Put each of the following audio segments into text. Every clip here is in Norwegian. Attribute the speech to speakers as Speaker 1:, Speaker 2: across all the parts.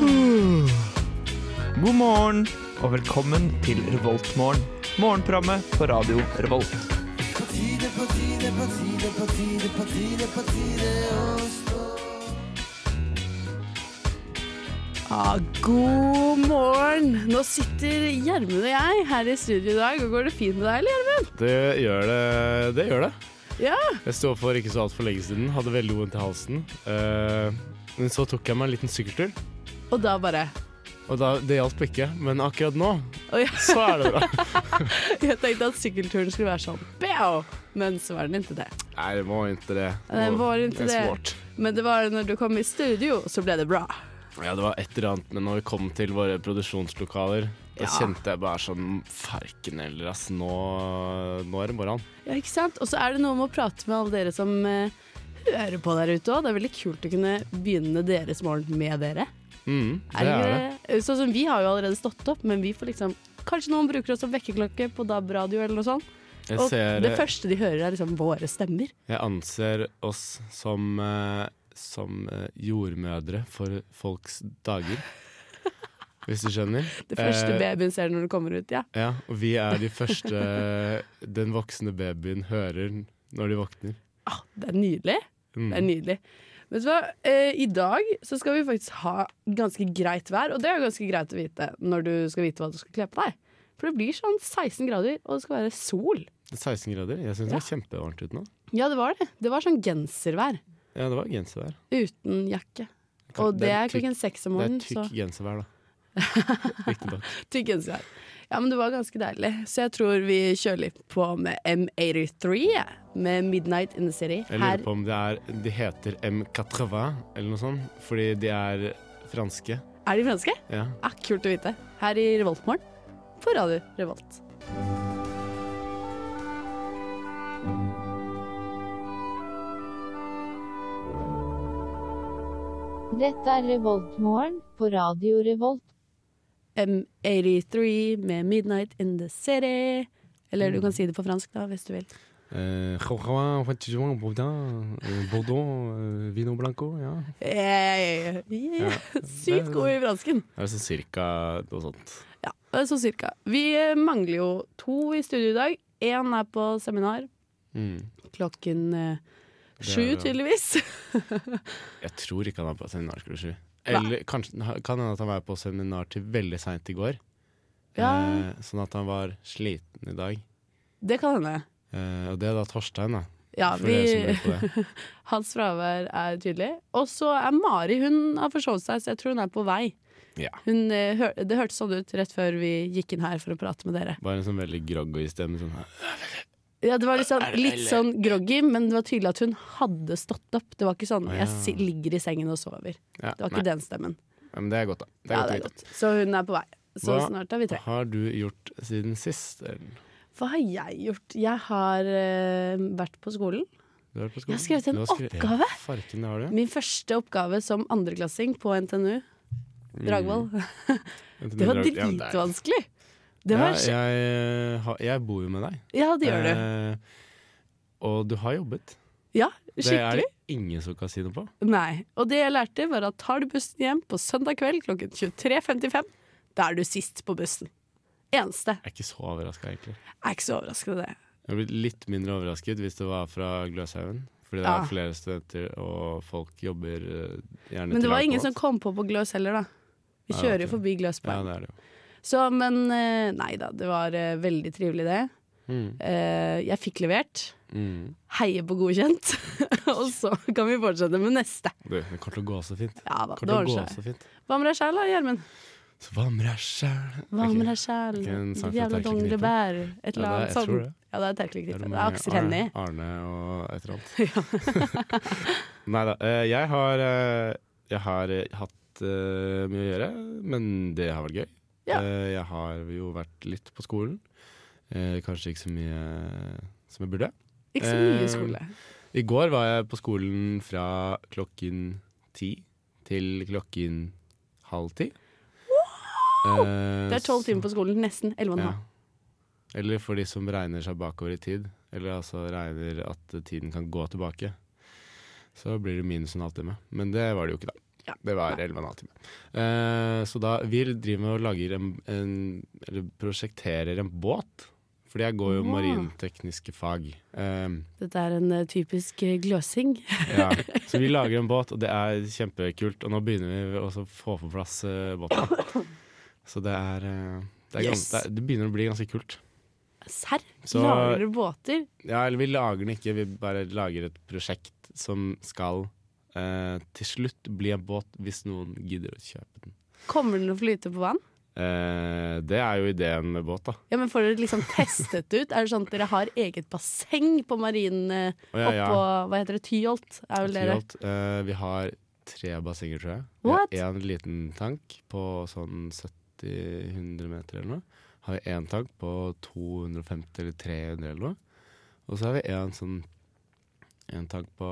Speaker 1: Hmm. morgen og velkommen til Revoltmorgen. Morgenprogrammet på radio Revolt.
Speaker 2: Ja, god morgen! Nå sitter Gjermund og jeg her i studio i dag. Og Går det fint med deg, eller, Gjermund?
Speaker 3: Det gjør det. Det gjør det.
Speaker 2: Ja.
Speaker 3: Jeg sto opp for ikke så altfor lenge siden, hadde veldig vondt i halsen. Eh, men så tok jeg meg en liten sykkeltur,
Speaker 2: Og da bare
Speaker 3: og da, det hjalp ikke. Men akkurat nå,
Speaker 2: Oi,
Speaker 3: så er det bra.
Speaker 2: jeg tenkte at sykkelturen skulle være sånn bjau, men så var den ikke det.
Speaker 3: Nei, det må ikke det.
Speaker 2: Nei, det var ikke
Speaker 3: er
Speaker 2: det.
Speaker 3: svårt.
Speaker 2: Men det var når du kom i studio, så ble det bra.
Speaker 3: Ja, det var et eller annet, men når vi kom til våre produksjonslokaler, da
Speaker 2: Ja.
Speaker 3: kjente jeg bare sånn Farken heller, ass. Nå, nå er det bare han.
Speaker 2: Ja, ikke sant? Og så er det noe med å prate med alle dere som eh, hører på der ute òg. Det er veldig kult å kunne begynne deres morgen med dere.
Speaker 3: Mm,
Speaker 2: Er
Speaker 3: det er det.
Speaker 2: ikke det? Sånn som vi har jo allerede stått opp, men vi får liksom Kanskje noen bruker oss som vekkerklokke på DAB-radio eller noe sånt.
Speaker 3: Jeg,
Speaker 2: Og
Speaker 3: ser, eh,
Speaker 2: det første de hører, er liksom våre stemmer.
Speaker 3: jeg anser oss som, eh, som eh, jordmødre for folks dager. Hvis du skjønner?
Speaker 2: Det første
Speaker 3: Eh,
Speaker 2: babyen ser når du kommer ut. Ja,
Speaker 3: Ja, og vi er de første den voksne babyen hører når de våkner.
Speaker 2: ah, Det er nydelig.
Speaker 3: Mm.
Speaker 2: Det er nydelig. Vet du hva, eh, I dag så skal vi faktisk ha ganske greit vær, og det er jo ganske greit å vite når du skal vite hva du skal kle på deg. For det blir sånn 16 grader, og det skal være sol.
Speaker 3: Det er 16 grader. Jeg syns det var kjempevarmt ute nå.
Speaker 2: Ja, det var det. Det var sånn genservær
Speaker 3: Ja, det var genservær.
Speaker 2: uten jakke. Og det er
Speaker 3: tykk-
Speaker 2: klokken seks om
Speaker 3: Det er
Speaker 2: morgenen, så
Speaker 3: tykk genservær, da. Riktignok.
Speaker 2: tykk genservær. Ja, men det var ganske deilig, så jeg tror vi kjører litt på med M83 jeg, med 'Midnight in the City'
Speaker 3: Jeg lurer
Speaker 2: her
Speaker 3: på om det er De heter M80 eller noe sånt, fordi de er franske.
Speaker 2: Er de franske?
Speaker 3: Ja.
Speaker 2: Ah, kult å vite. Her i Revoltmorgen på Radio Revolt.
Speaker 4: Dette er Revoltmorgen på Radio Revolt.
Speaker 2: M83 med 'Midnight in the City'. Eller du kan si det på fransk, da, hvis du vil.
Speaker 3: Eh, Chauvin, Poitouin, Bourdin, eh, Bordeaux, eh, Vino Blanco. Ja.
Speaker 2: Eh,
Speaker 3: Ja.
Speaker 2: Sykt god i fransken!
Speaker 3: Det er sånn cirka noe sånt.
Speaker 2: Ja, så cirka. Vi eh, mangler jo to i studio i dag. Én er på seminar
Speaker 3: Mm.
Speaker 2: klokken eh,
Speaker 3: er
Speaker 2: sju,
Speaker 3: det, ja.
Speaker 2: tydeligvis.
Speaker 3: Jeg tror ikke han er på seminar klokka sju. Eller kanskje, kan hende at han var på seminar til veldig seint i går.
Speaker 2: Ja.
Speaker 3: Eh, sånn at han var sliten i dag.
Speaker 2: Det kan hende.
Speaker 3: Eh, og det er da Torstein, da.
Speaker 2: Ja,
Speaker 3: for dere som
Speaker 2: vi,
Speaker 3: lurer på det.
Speaker 2: hans fravær er tydelig. Og så er Mari Hun har forsovet seg, så jeg tror hun er på vei.
Speaker 3: Ja.
Speaker 2: Hun, eh, hør, det hørtes sånn ut rett før vi gikk inn her for å prate med dere.
Speaker 3: Bare en sånn veldig groggy stemme. Sånn.
Speaker 2: Ja, Det var litt sånn, litt sånn groggy, men det var tydelig at hun hadde stått opp. Det var ikke sånn
Speaker 3: Å, ja.
Speaker 2: 'jeg si- ligger i sengen og sover'.
Speaker 3: Ja,
Speaker 2: Det var
Speaker 3: nei.
Speaker 2: ikke den stemmen.
Speaker 3: Ja, men det er godt, da. Det er
Speaker 2: ja,
Speaker 3: godt å
Speaker 2: det er
Speaker 3: vite.
Speaker 2: godt. Så hun er på vei. Så
Speaker 3: Hva-
Speaker 2: snart er vi tre.
Speaker 3: Har du gjort siden sist? Ellen?
Speaker 2: Hva har jeg gjort? Jeg har eh, vært på skolen.
Speaker 3: Du har vært på
Speaker 2: Jeg har
Speaker 3: skolen?
Speaker 2: skrevet en
Speaker 3: Du har skrevet-
Speaker 2: oppgave.
Speaker 3: Ja, Farken, det har du.
Speaker 2: Min første oppgave som andreklassing på NTNU Dragvoll. Det var
Speaker 3: Mm. Ja, det er-
Speaker 2: dritvanskelig! Det var
Speaker 3: ja,
Speaker 2: ja,
Speaker 3: jeg, eh, har- jeg bor jo med deg.
Speaker 2: ja, det gjør du.
Speaker 3: Eh, og du har jobbet.
Speaker 2: Ja,
Speaker 3: Det er
Speaker 2: skikkelig.
Speaker 3: det ingen som kan si noe på.
Speaker 2: Nei. Og det jeg lærte, var at tar du bussen hjem på søndag kveld klokken 23.55, da er du sist på bussen. Eneste.
Speaker 3: Jeg er ikke så overraska, egentlig.
Speaker 2: Jeg er ikke så overraskende det.
Speaker 3: Jeg blir litt mindre overrasket hvis det var fra Gløshaugen. Fordi det
Speaker 2: Ja.
Speaker 3: er flere studenter, og folk jobber eh, gjerne
Speaker 2: Men det
Speaker 3: til
Speaker 2: var
Speaker 3: langt
Speaker 2: ingen
Speaker 3: på
Speaker 2: som
Speaker 3: natt.
Speaker 2: kom på på Gløs heller, da. Vi
Speaker 3: Ja,
Speaker 2: kjører jo
Speaker 3: ok.
Speaker 2: forbi Gløs på
Speaker 3: Ja,
Speaker 2: en.
Speaker 3: det er det jo.
Speaker 2: Så, men eh, nei da, det var eh, veldig trivelig det.
Speaker 3: Mm.
Speaker 2: Eh, Jeg fikk levert.
Speaker 3: Mm.
Speaker 2: Heier på godkjent. Og så kan vi fortsette med neste.
Speaker 3: Du, det kommer til å gå så fint.
Speaker 2: Ja da, det
Speaker 3: Det kommer til å
Speaker 2: ordner
Speaker 3: gå
Speaker 2: seg.
Speaker 3: så fint.
Speaker 2: Hva med deg sjæl da, Gjermund?
Speaker 3: Så hva med deg sjæl?
Speaker 2: Hva med deg sjæl?
Speaker 3: ikke en sang
Speaker 2: Ditt
Speaker 3: fra
Speaker 2: jævla
Speaker 3: Terkelknippen?
Speaker 2: donglebær. Et eller
Speaker 3: Ja, det
Speaker 2: annet
Speaker 3: er- jeg tror
Speaker 2: sånt.
Speaker 3: det.
Speaker 2: Ja, det er Terkelknippet. Det er Aksel Hennie.
Speaker 3: Arne, Arne og et eller annet. Nei da. eh, Jeg har, eh, jeg har eh, hatt eh, mye å gjøre, men det har vært gøy.
Speaker 2: Ja.
Speaker 3: Eh, Jeg har jo vært litt på skolen. Eh, Kanskje ikke så mye eh, som jeg burde.
Speaker 2: Ikke så mye
Speaker 3: Eh,
Speaker 2: skole.
Speaker 3: I går var jeg på skolen fra klokken ti til klokken halv ti. Eh,
Speaker 2: Det er tolv timer på skolen. Nesten. Elleve og en
Speaker 3: Ja.
Speaker 2: halv.
Speaker 3: Eller for de som regner seg bakover i tid, eller altså regner at tiden kan gå tilbake. Så blir det minus en halvtime. Men det var det jo ikke, da.
Speaker 2: Ja.
Speaker 3: Det var 11 og en halv time. Eh, så da Vi driver med og lager en, en Eller prosjekterer en båt. Fordi jeg går jo
Speaker 2: Åh.
Speaker 3: marintekniske fag. Eh,
Speaker 2: Dette er en eh, typisk eh, gløsing.
Speaker 3: ja. Så vi lager en båt, og det er kjempekult. Og nå begynner vi også å få på plass eh, båten. Så det er, eh, det, er gans-
Speaker 2: Yes.
Speaker 3: det, er, det begynner å bli ganske kult.
Speaker 2: Serr?
Speaker 3: Så-
Speaker 2: Lager dere båter?
Speaker 3: Ja, eller vi lager den ikke, vi bare lager et prosjekt som skal eh, til slutt bli en båt, hvis noen gidder å kjøpe den.
Speaker 2: Kommer den å flyte på vann?
Speaker 3: Eh, det er jo ideen med båt, da.
Speaker 2: Ja, men Får dere liksom testet det ut? Er det sånn at dere har eget basseng på marinen eh,
Speaker 3: Og ja,
Speaker 2: oppå
Speaker 3: ja,
Speaker 2: Hva heter det? Tyholt? Er vel dere?
Speaker 3: Tyholt, eh, vi har tre bassenger, tror jeg.
Speaker 2: What?
Speaker 3: Vi har én liten tank på sånn 70-100 meter eller noe. Har vi én tank på 250 eller 300 eller noe. Og så har vi én sånn En tank på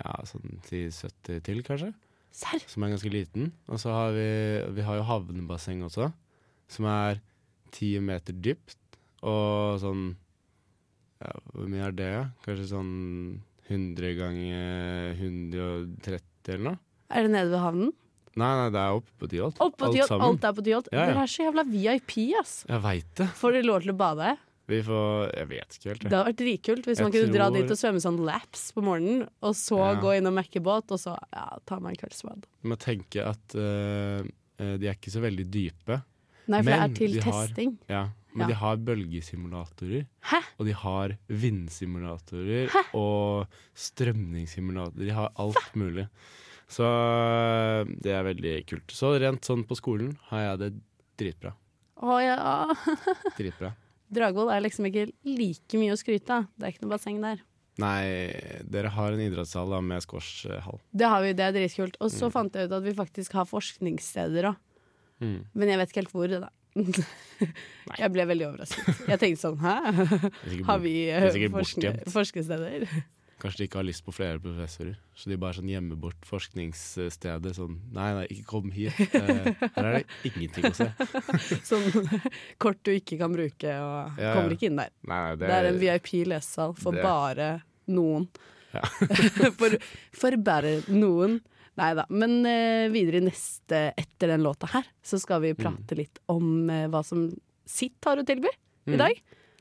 Speaker 3: ja, sånn 10-70 til, kanskje.
Speaker 2: Serr?
Speaker 3: som er ganske liten. Og så har vi, vi har jo havnebasseng også, som er ti meter dypt. Og sånn ja, Hvor mye er det? Kanskje sånn 100 ganger 130 eller noe?
Speaker 2: Er det nede ved havnen?
Speaker 3: Nei, nei, det er oppe på Tyholt.
Speaker 2: Oppå Tyholt? Alt er på Tyholt?
Speaker 3: Ja, ja.
Speaker 2: Dere er så jævla VIP, ass!
Speaker 3: Jeg veit det.
Speaker 2: Får dere lov til å bade?
Speaker 3: Vi får Jeg vet ikke helt.
Speaker 2: Det
Speaker 3: jeg.
Speaker 2: hadde vært dritkult hvis
Speaker 3: Jeg
Speaker 2: man kunne dra
Speaker 3: tror-
Speaker 2: dit og svømme sånn laps på morgenen, og så
Speaker 3: Ja.
Speaker 2: gå inn og mekke båt, og så ja, ta meg en kveldsbad.
Speaker 3: Du må tenke at øh, øh, de er ikke så veldig dype.
Speaker 2: Nei, for det
Speaker 3: Men
Speaker 2: er til
Speaker 3: de har-
Speaker 2: testing.
Speaker 3: Ja,
Speaker 2: Ja.
Speaker 3: men de har bølgesimulatorer.
Speaker 2: Hæ?
Speaker 3: Og de har vindsimulatorer og strømningssimulatorer. De har alt mulig. Så eh, det er veldig kult. Så rent sånn på skolen har jeg det dritbra.
Speaker 2: Å ja.
Speaker 3: Dritbra.
Speaker 2: Dragvoll er liksom ikke like mye å skryte av. Det er ikke noe basseng der.
Speaker 3: Nei, dere har en idrettshall da med squashhall.
Speaker 2: Det har vi, det er dritkult. Og så fant jeg ut at vi faktisk har forskningssteder òg.
Speaker 3: Mm.
Speaker 2: Men jeg vet ikke helt hvor det er. jeg ble veldig overrasket. Jeg tenkte sånn hæ?
Speaker 3: Det er sikkert
Speaker 2: Har
Speaker 3: bort-
Speaker 2: vi eh,
Speaker 3: det er sikkert
Speaker 2: forskne,
Speaker 3: bortgjemt.
Speaker 2: forskesteder?
Speaker 3: Kanskje de ikke har lyst på flere professorer, så de bare sånn gjemmer bort forskningsstedet. Sånn nei, nei, ikke kom hit. Eh, Her er det ingenting å se. Nei,
Speaker 2: Sånn kort du ikke kan bruke, og
Speaker 3: Ja, ja.
Speaker 2: kommer ikke inn der.
Speaker 3: nei,
Speaker 2: Det er en VIP-lesesal for
Speaker 3: det-
Speaker 2: bare noen. for, for bare noen. Nei da. Men eh, videre i neste, etter den låta her, så skal vi prate litt om eh, hva som sitt har å tilby
Speaker 3: Mm.
Speaker 2: i dag.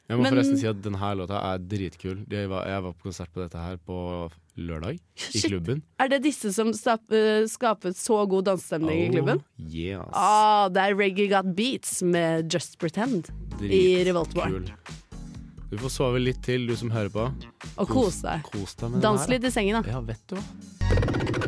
Speaker 3: Jeg må
Speaker 2: Men-
Speaker 3: forresten si at denne låta er dritkul. Jeg var, jeg var på konsert på dette her på lørdag i
Speaker 2: Shit.
Speaker 3: klubben.
Speaker 2: Er det disse som stap, eh, skapet så god dansestemning i klubben?
Speaker 3: Oh, yes.
Speaker 2: Ah, det er Reggae Got Beats med Just Pretend. i Revolt Bar.
Speaker 3: Dritkul. Du får sove litt til, du som hører på.
Speaker 2: Og kos deg.
Speaker 3: Kos deg med
Speaker 2: Dans
Speaker 3: den her,
Speaker 2: litt i sengen,
Speaker 3: da.
Speaker 2: da.
Speaker 3: Ja, vet du hva.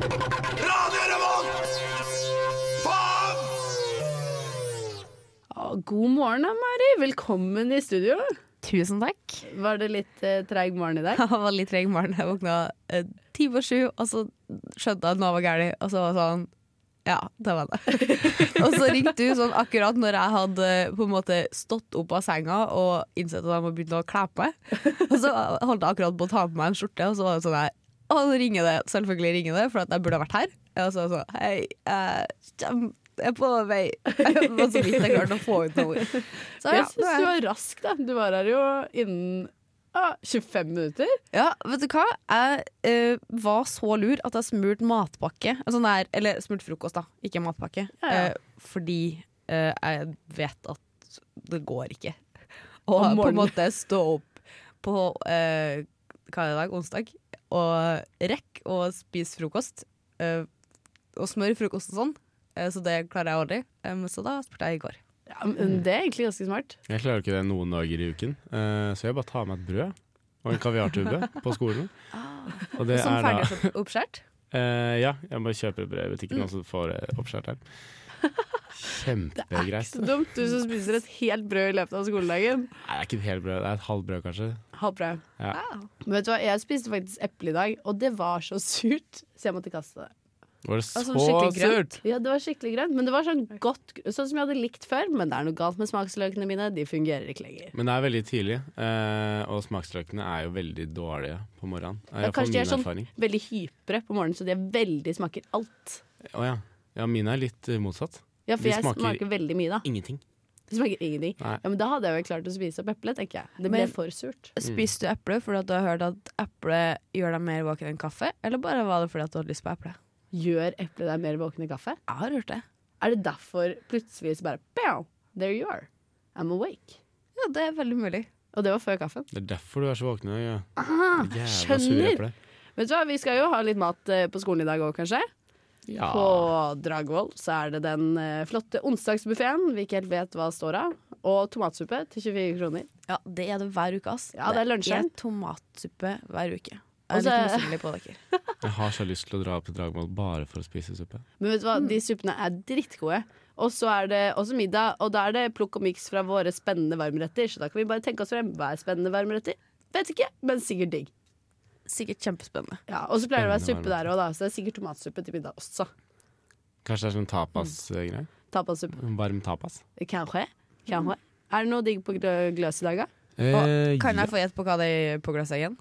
Speaker 2: Ah, god morgen, da, Mari. Velkommen i studio.
Speaker 5: Tusen takk.
Speaker 2: Var det litt eh, treig morgen i dag?
Speaker 5: Jeg var litt treg i morgen. Jeg våkna eh, ti på sju, og så skjønte jeg at noe var galt. Og så var det sånn Ja, det var det. og så ringte hun sånn akkurat når jeg hadde eh, på en måte stått opp av senga og innsett at jeg må begynne å kle på meg. Og så holdt jeg akkurat på å ta på meg en skjorte, og så var det sånn her Å, nå ringer det. Selvfølgelig ringer det, for at jeg burde ha vært her. Og så var det sånn Hei, eh, kjem- jeg er på vei. Det var så vidt jeg klarte å få ut noe ord. Så
Speaker 2: jeg
Speaker 5: ja, det
Speaker 2: syns
Speaker 5: er-
Speaker 2: du var rask, da. Du var her jo innen ah, 25 minutter.
Speaker 5: Ja, vet du hva? Jeg eh, var så lur at jeg smurte matpakke. Altså, nei, eller smurt frokost, da. Ikke matpakke.
Speaker 2: Ja, ja.
Speaker 5: Eh, fordi eh, jeg vet at det går ikke.
Speaker 2: Om
Speaker 5: Og på en
Speaker 2: morgenen.
Speaker 5: måte stå opp på eh, hva er det i dag? Onsdag. Og rekke å spise frokost. eh, og smøre frokosten sånn. Eh, så det klarer jeg aldri. Eh, så da spurte jeg i går.
Speaker 2: Ja, men Det er egentlig ganske smart.
Speaker 3: Jeg klarer jo ikke det noen dager i uken, eh, så jeg bare tar meg et brød og en kaviartube på skolen.
Speaker 2: Ah.
Speaker 3: Og det
Speaker 2: Sånn
Speaker 5: Som
Speaker 3: er da
Speaker 5: ferdig oppskåret.
Speaker 3: eh, Ja, jeg bare kjøper brød i
Speaker 2: Mm.
Speaker 3: butikken, og så får jeg oppskjært her. Kjempegreit.
Speaker 2: Så dumt, du som spiser et helt brød i løpet av skoledagen.
Speaker 3: Nei, det er ikke et helt brød, det er et halvt brød kanskje.
Speaker 2: Halvt brød.
Speaker 3: Ja.
Speaker 2: Men vet du hva, jeg spiste faktisk eple i dag, og det var så surt, så jeg måtte kaste det.
Speaker 3: Var det så
Speaker 5: Altså, skikkelig grønt.
Speaker 3: surt?
Speaker 2: Ja, det var skikkelig grønt, men det var sånn godt Sånn som jeg hadde likt før, men det er noe galt med smaksløkene mine. De fungerer ikke lenger.
Speaker 3: Men det er veldig tidlig, eh, og smaksløkene er jo veldig dårlige på morgenen. Eh,
Speaker 2: Ja,
Speaker 3: for
Speaker 2: kanskje de er
Speaker 3: min
Speaker 2: sånn-
Speaker 3: erfaring.
Speaker 2: Veldig hypre på morgenen, så de er veldig smaker alt.
Speaker 3: Å ja. ja, mine er litt eh, motsatt.
Speaker 2: Ja, for
Speaker 3: De
Speaker 2: jeg
Speaker 3: smaker-
Speaker 2: smaker, veldig mye, da.
Speaker 3: Ingenting.
Speaker 2: Det smaker ingenting.
Speaker 3: Nei.
Speaker 2: Ja, men da hadde jeg vel klart å spise opp eplet, tenker jeg. Det ble
Speaker 5: Men-
Speaker 2: for surt.
Speaker 5: Spiste du eple fordi at du har hørt at eple gjør deg mer våken enn kaffe, eller bare var det fordi at du hadde lyst på eple?
Speaker 2: Gjør eplet deg mer våken i kaffe?
Speaker 5: Jeg har hørt det.
Speaker 2: Er det derfor plutselig så bare Bow! There you are. I'm awake.
Speaker 5: Ja, det er veldig mulig.
Speaker 2: Og det var før kaffen.
Speaker 3: Det er derfor du er så våken i dag. Ja.
Speaker 2: Ah,
Speaker 3: Jævla sur
Speaker 2: skjønner!
Speaker 3: eple.
Speaker 2: Vet du hva, Vi skal jo ha litt mat eh, på skolen i dag òg, kanskje.
Speaker 3: Ja.
Speaker 2: På Dragvoll så er det den eh, flotte onsdagsbuffeen vi ikke helt vet hva står av. Og tomatsuppe til 24 kroner.
Speaker 5: Ja, det er det hver uke, ass.
Speaker 2: Ja, det er lunsjen.
Speaker 5: Det er tomatsuppe hver uke. Jeg
Speaker 2: Og
Speaker 5: er
Speaker 2: så-
Speaker 5: litt misunnelig på dere.
Speaker 3: Jeg har så lyst til å dra opp til Dragvoll bare for å spise suppe.
Speaker 2: Men vet du hva, de suppene er drittgode. Og så er det også middag, og da er det plukk og miks fra våre spennende varmretter. Så da kan vi bare tenke oss frem. Hva er spennende varmretter? Vet ikke, men sikkert digg.
Speaker 5: Sikkert kjempespennende.
Speaker 2: Ja, og så pleier det å være
Speaker 3: Spennende
Speaker 2: suppe der òg, da. Så det er sikkert tomatsuppe til middag også.
Speaker 3: Kanskje det er sånn tapas-greie?
Speaker 2: Tapasuppe.
Speaker 3: Varm tapas?
Speaker 2: Kanskje. Kanskje. Mm. Er det noe digg på glø- gløs i dag, da?
Speaker 5: Og, kan
Speaker 3: Eh, ja.
Speaker 5: jeg få gjette på hva det er på glasset igjen?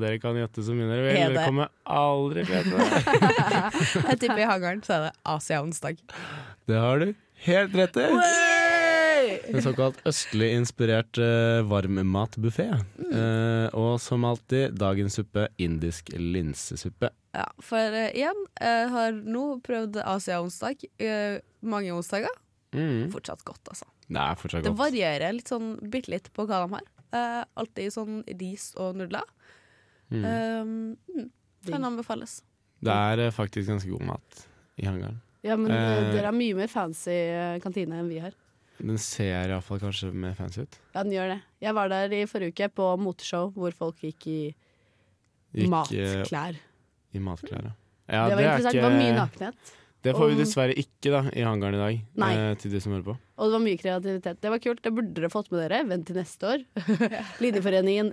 Speaker 3: dere kan gjette så mye dere vil.
Speaker 5: Er det-
Speaker 3: Dere kommer aldri til å gjette det.
Speaker 5: Jeg tipper i hangaren så er det Asia-onsdag.
Speaker 3: Det har du helt rett i.
Speaker 2: Hey!
Speaker 3: En såkalt østlig inspirert uh, varmmatbuffé.
Speaker 2: Mm.
Speaker 3: Eh, og som alltid, dagens suppe indisk linsesuppe.
Speaker 5: Ja, for eh, igjen, jeg har nå prøvd Asia-onsdag eh, mange onsdager.
Speaker 2: Mm.
Speaker 5: Fortsatt godt, altså.
Speaker 3: Det er fortsatt
Speaker 5: Det
Speaker 3: godt.
Speaker 5: varierer litt sånn bitte litt på hva de har. Eh, alltid sånn ris og nudler. Eh, mm. Kan anbefales.
Speaker 3: Det er eh, faktisk ganske god mat i hangaren.
Speaker 2: Ja, men eh,
Speaker 3: Eh.
Speaker 2: dere har mye mer fancy eh, kantine enn vi har.
Speaker 3: Den ser iallfall kanskje mer fancy ut.
Speaker 2: Ja, den gjør det. Jeg var der i forrige uke på moteshow hvor folk gikk i
Speaker 3: Gikk eh,
Speaker 2: matklær.
Speaker 3: i matklær, ja. Ja,
Speaker 2: det var
Speaker 3: er
Speaker 2: interessant. Det var mye nakenhet.
Speaker 3: Det får vi
Speaker 2: Og-
Speaker 3: dessverre ikke da, i hangaren i dag,
Speaker 2: Nei.
Speaker 3: eh, til de som hører på.
Speaker 2: Og det var mye kreativitet. Det var kult. Det burde dere fått med dere. Vent til neste år. Linjeforeningen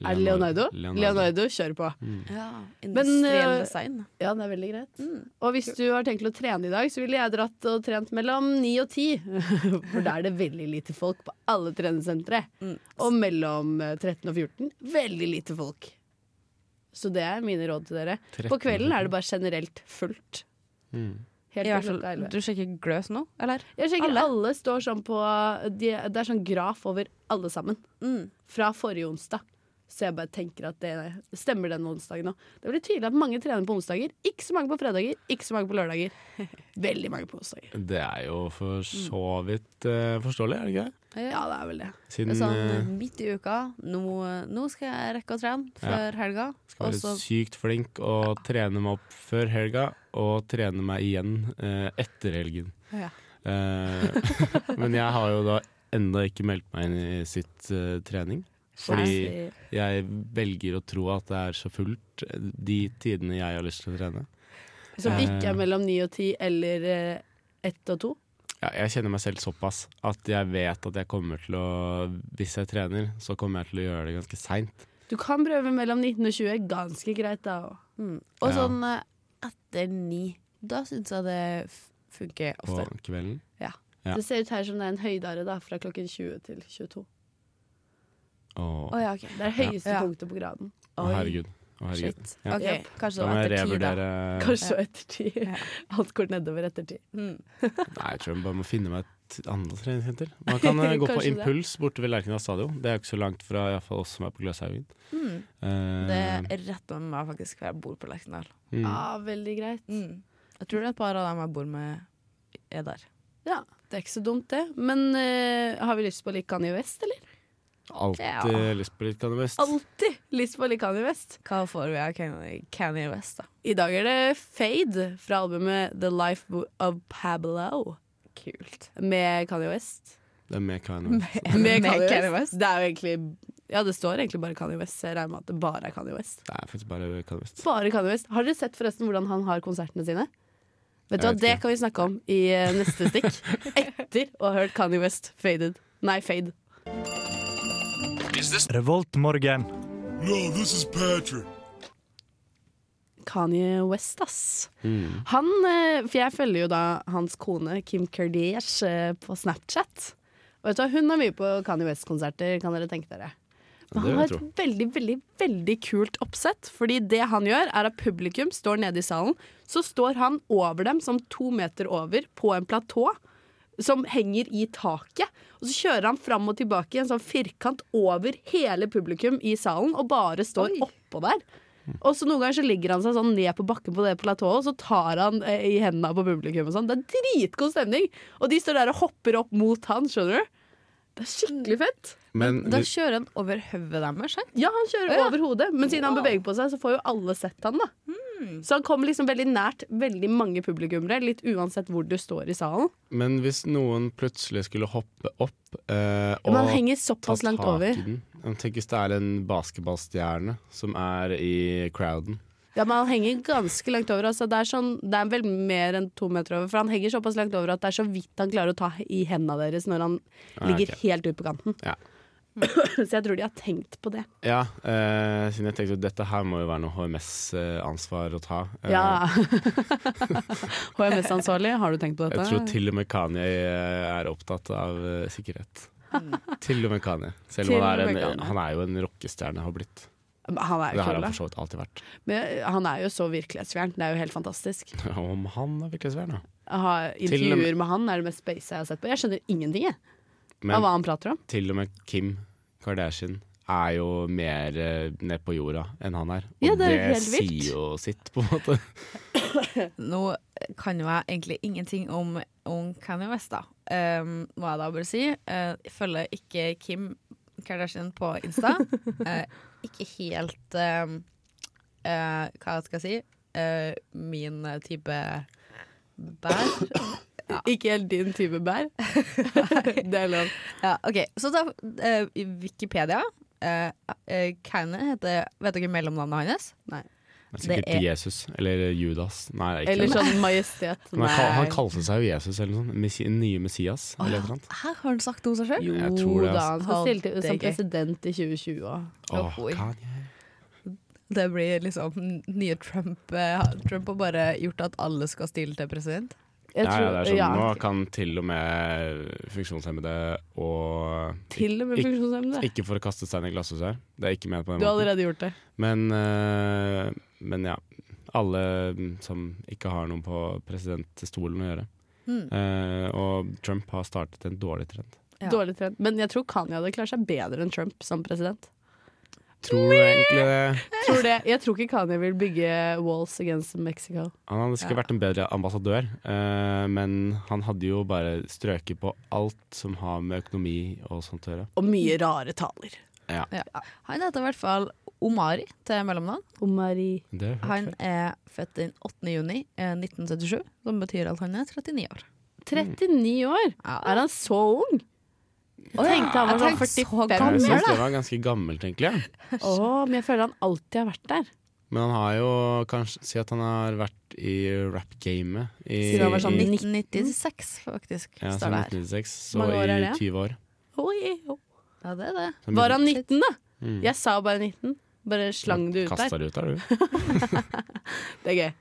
Speaker 2: er det Leonardo. Leonardo. kjør på.
Speaker 5: Ja,
Speaker 2: Men,
Speaker 5: Industriell
Speaker 2: eh,
Speaker 5: design.
Speaker 2: Ja, det er veldig greit.
Speaker 5: Mm.
Speaker 2: Og hvis du har tenkt til å trene i dag, så ville jeg dratt og trent mellom ni og ti. For da er det veldig lite folk på alle treningssentre.
Speaker 5: Mm.
Speaker 2: Og mellom eh, 13 og 14 veldig lite folk. Så det er mine råd til dere.
Speaker 3: 13
Speaker 2: På kvelden er det bare generelt fullt. Helt
Speaker 5: I
Speaker 2: til
Speaker 5: hvert fall,
Speaker 2: klokka 11.
Speaker 5: du sjekker gløs nå, eller?
Speaker 2: Jeg sjekker
Speaker 5: Alle?
Speaker 2: alle, står sånn på de, Det er sånn graf over alle sammen.
Speaker 5: Mm.
Speaker 2: Fra forrige onsdag. Så jeg bare tenker at det stemmer den onsdagen òg. Det blir tydelig at mange trener på onsdager. Ikke så mange på fredager, ikke så mange på lørdager. Veldig mange på onsdager.
Speaker 3: Det er jo
Speaker 2: Mm.
Speaker 3: for så vidt eh, forståelig, er det ikke det?
Speaker 2: Ja, det er vel det.
Speaker 3: Siden
Speaker 5: sånn
Speaker 3: eh,
Speaker 5: midt i uka. Nå, nå skal jeg rekke å trene før helga.
Speaker 3: skal
Speaker 5: Og
Speaker 3: være
Speaker 5: så
Speaker 3: sykt flink og trene meg opp før helga, og trene meg igjen eh, etter helgen.
Speaker 5: Ja.
Speaker 3: Eh, men jeg har jo da enda ikke meldt meg inn i sitt eh, trening. Fordi jeg velger å tro at det er så fullt eh, de tidene jeg har lyst til å trene.
Speaker 2: Som
Speaker 3: Eh.
Speaker 2: ikke er mellom ni og ti eller eh, ett og to.
Speaker 3: Ja, jeg kjenner meg selv såpass at jeg vet at jeg kommer til å Hvis jeg trener, så kommer jeg til å gjøre det ganske seint.
Speaker 2: Du kan prøve mellom 19 og 20. Ganske greit, da òg.
Speaker 5: Og
Speaker 3: Ja.
Speaker 5: sånn eh, etter ni. Da syns jeg det f- funker
Speaker 3: På
Speaker 5: ofte.
Speaker 3: kvelden.
Speaker 5: Ja.
Speaker 3: Ja.
Speaker 2: Det ser ut her som det er en høydare da, fra klokken 20 til 22.
Speaker 3: Å,
Speaker 5: Å ja, OK.
Speaker 2: Det er høyeste
Speaker 5: Ja.
Speaker 2: punktet på graden.
Speaker 3: å, herregud. Å, herregud.
Speaker 5: Shit.
Speaker 3: Ja.
Speaker 5: OK,
Speaker 2: Jep.
Speaker 5: kanskje
Speaker 3: Da
Speaker 5: det
Speaker 3: må
Speaker 5: var
Speaker 3: jeg
Speaker 5: etter ti, da.
Speaker 3: revurdere
Speaker 2: Kanskje etter ti.
Speaker 5: Ja.
Speaker 2: Alt går nedover etter ti.
Speaker 5: Mm.
Speaker 3: Nei, jeg tror jeg bare må finne meg et annet treningssenter. Man kan eh, gå på
Speaker 2: Kanskje det.
Speaker 3: Impuls borte ved Lerkendal stadion. Det er jo ikke så langt fra i hvert fall oss som er på Gløshaugen.
Speaker 5: Mm.
Speaker 3: Eh,
Speaker 5: Det
Speaker 2: Mm.
Speaker 5: er rett om meg, faktisk, for jeg bor på Lerkendal.
Speaker 3: mm.
Speaker 2: Ja, veldig greit.
Speaker 5: Mm. Jeg tror det er et par av dem jeg bor med, er der.
Speaker 2: Ja, Det er ikke så dumt, det. Men eh, har vi lyst på litt Kanye West, eller?
Speaker 3: Alltid
Speaker 5: Ja.
Speaker 3: lyst på litt cannabis.
Speaker 2: Alltid lyst på litt Kanye West.
Speaker 5: Hva får vi av Kanye- Kanye West, da?
Speaker 2: I dag er det Fade fra albumet The Life of Pablo
Speaker 5: Kult.
Speaker 2: med Kanye West.
Speaker 3: Det er med cannabis.
Speaker 2: Med Kanye West.
Speaker 5: Kanye West.
Speaker 2: Det er jo egentlig Ja, det står egentlig bare Kanye West. så Jeg regner med at det bare er Kanye West.
Speaker 3: Det er faktisk bare cannabis.
Speaker 2: Bare Kanye West. Har dere sett forresten hvordan han har konsertene sine? Vet du hva,
Speaker 3: Jeg vet
Speaker 2: Det
Speaker 3: ikke.
Speaker 2: kan vi snakke om i eh, neste stikk. Etter å ha hørt Kanye West faded. Nei, fade.
Speaker 1: Revoltmorgen.
Speaker 2: Kanye West, ass.
Speaker 3: Mm.
Speaker 2: Han, eh, for jeg følger jo da hans kone Kim Kardash eh, på Snapchat. Og vet du hva, Hun er mye på Kanye West-konserter, kan dere tenke dere. Men
Speaker 3: det vil
Speaker 2: han har
Speaker 3: jeg
Speaker 2: et veldig veldig, veldig kult oppsett. Fordi det han gjør, er at publikum står nede i salen. Så står han over dem, som to meter over, på en platå som henger i taket. Og så kjører han fram og tilbake i en sånn firkant over hele publikum i salen, og bare står oppå der. Og så noen ganger så ligger han seg sånn ned på bakken på det platået, og så tar han eh, i hendene på publikum og sånn. Det er dritgod stemning! Og de står der og hopper opp mot han, skjønner du? Det er skikkelig fett.
Speaker 3: Men
Speaker 5: Da
Speaker 3: vi-
Speaker 5: kjører han over hodet deres, sant?
Speaker 2: Ja, han kjører
Speaker 5: Å, ja.
Speaker 2: over hodet, men siden han beveger på seg, så får jo alle sett han, da. Så han kommer liksom veldig nært veldig mange publikummere, litt uansett hvor du står i salen.
Speaker 3: Men hvis noen plutselig skulle hoppe opp eh, og
Speaker 2: Men han henger
Speaker 3: ta
Speaker 2: såpass langt
Speaker 3: tak i
Speaker 2: over.
Speaker 3: den Tenk hvis det er en basketballstjerne som er i crowden.
Speaker 2: Ja, men han henger ganske langt over. Altså, det, er sånn, det er vel mer enn to meter over, for han henger såpass langt over at det er så vidt han klarer å ta i hendene deres når han
Speaker 3: Ah,
Speaker 2: ligger
Speaker 3: ok.
Speaker 2: helt ut på kanten.
Speaker 3: Ja.
Speaker 2: Så jeg tror de har tenkt på det.
Speaker 3: Ja, eh, siden jeg tenkte at dette her må jo være noe HMS-ansvar å ta. Eh,
Speaker 2: Ja. HMS-ansvarlig, har du tenkt på dette?
Speaker 3: Jeg tror til og med Kanye er opptatt av eh, sikkerhet. Til og med Kanye. Selv
Speaker 2: Til
Speaker 3: om han
Speaker 2: og
Speaker 3: er,
Speaker 2: med
Speaker 3: en,
Speaker 2: Kanye.
Speaker 3: han er jo en rockestjerne har blitt.
Speaker 2: Men han er
Speaker 3: Det
Speaker 2: jo
Speaker 3: har
Speaker 2: kul,
Speaker 3: han
Speaker 2: da.
Speaker 3: for så vidt alltid vært.
Speaker 2: Men han er jo så virkelighetsfjern. Det er jo helt fantastisk.
Speaker 3: Om han er virkelighetsvern, da.
Speaker 2: Jeg har
Speaker 3: og med-
Speaker 2: intervjuer med han er det mest space jeg har sett på. Jeg skjønner ingenting jeg, av
Speaker 3: Men
Speaker 2: hva han prater om.
Speaker 3: til og med Kim Kardashian er jo mer eh, ned på jorda enn han er. Og
Speaker 2: Ja, det er helt vilt.
Speaker 3: sier jo sitt, på en måte.
Speaker 5: Nå kan jo jeg egentlig ingenting om, om Kanye West, da. Um, må jeg da bare si. Eh, jeg følger ikke Kim Kardashian på Insta. Eh, ikke helt um, eh, Hva skal jeg si? Eh, min type bær.
Speaker 2: Ikke helt din type bær. det er lov.
Speaker 5: Ja, ok, så da eh, i Wikipedia eh, eh, Kanye heter Vet dere mellomnavnet hans?
Speaker 2: Nei.
Speaker 3: Det er sikkert
Speaker 5: Det er-
Speaker 3: Jesus eller Judas. Nei, det er ikke
Speaker 2: Eller
Speaker 3: det.
Speaker 2: sånn majestet.
Speaker 3: han, er kal- han kalte seg jo Jesus eller noe sånt. Messi, nye Messias
Speaker 5: Å
Speaker 3: eller
Speaker 5: ja,
Speaker 3: noe sånt.
Speaker 5: Her har han sagt om seg sjøl.
Speaker 3: Jo,
Speaker 2: Jo
Speaker 3: Jeg tror det,
Speaker 2: da,
Speaker 3: altså.
Speaker 2: han skal
Speaker 5: Alt
Speaker 2: stille
Speaker 5: er
Speaker 2: til som
Speaker 5: gøy.
Speaker 2: president i 2020 òg.
Speaker 3: Åh,
Speaker 5: Oi.
Speaker 3: Kanye.
Speaker 5: Det blir liksom den nye Trump. eh, Trump har bare gjort at alle skal stille til president.
Speaker 2: Jeg
Speaker 3: ja, ja, det er sånn,
Speaker 2: ja.
Speaker 3: Nå kan til og med funksjonshemmede og
Speaker 2: Til og med
Speaker 3: Ik-
Speaker 2: funksjonshemmede.
Speaker 3: Ikke for å kaste stein i glasshus her, det er ikke ment på den
Speaker 2: Du har
Speaker 3: måten.
Speaker 2: allerede gjort det.
Speaker 3: Men, eh, men ja. Alle som ikke har noe på presidentstolen å gjøre.
Speaker 5: Mm.
Speaker 3: Eh, og Trump har startet en dårlig trend.
Speaker 5: Ja.
Speaker 2: Dårlig trent. Men jeg tror Kanye hadde klart seg bedre enn Trump som president.
Speaker 3: Tror du egentlig det?
Speaker 2: Tror det. Jeg tror ikke Kanye vil bygge walls against Mexico.
Speaker 3: Han hadde sikkert vært en bedre ambassadør, eh, men han hadde jo bare strøket på alt som har med økonomi og sånt å gjøre.
Speaker 2: Og mye rare taler.
Speaker 3: Ja,
Speaker 5: Han heter i hvert fall Omari til mellomnavn.
Speaker 2: Omari.
Speaker 3: det har jeg
Speaker 5: Han
Speaker 3: hørt før.
Speaker 5: er født den 8. juni eh, 1977, som betyr at han er 39 år.
Speaker 2: 39 år!
Speaker 5: Ja.
Speaker 2: Er han så ung? Jeg tenkte han var
Speaker 5: jeg
Speaker 2: sånn
Speaker 5: tenkte så
Speaker 2: 45
Speaker 5: gammel,
Speaker 3: Jeg
Speaker 2: år.
Speaker 3: syns det var ganske gammelt, egentlig. Ja.
Speaker 2: Å, men jeg føler han alltid har vært der.
Speaker 3: Men han har jo kanskje Si at han har vært i rap-gamet i,
Speaker 2: Siden han var sånn
Speaker 3: i,
Speaker 5: 1996, faktisk,
Speaker 3: ja,
Speaker 5: står
Speaker 3: siden
Speaker 5: det her.
Speaker 3: 1996, så
Speaker 2: Mange år er
Speaker 3: i
Speaker 2: det?
Speaker 3: 20 år.
Speaker 2: Oi, oi.
Speaker 5: Ja, det er det.
Speaker 3: Så
Speaker 2: Var han 19, da?
Speaker 3: Mm.
Speaker 2: Jeg sa bare 19. Bare slang det ut der.
Speaker 3: Kasta det ut der, du.
Speaker 2: Det er gøy.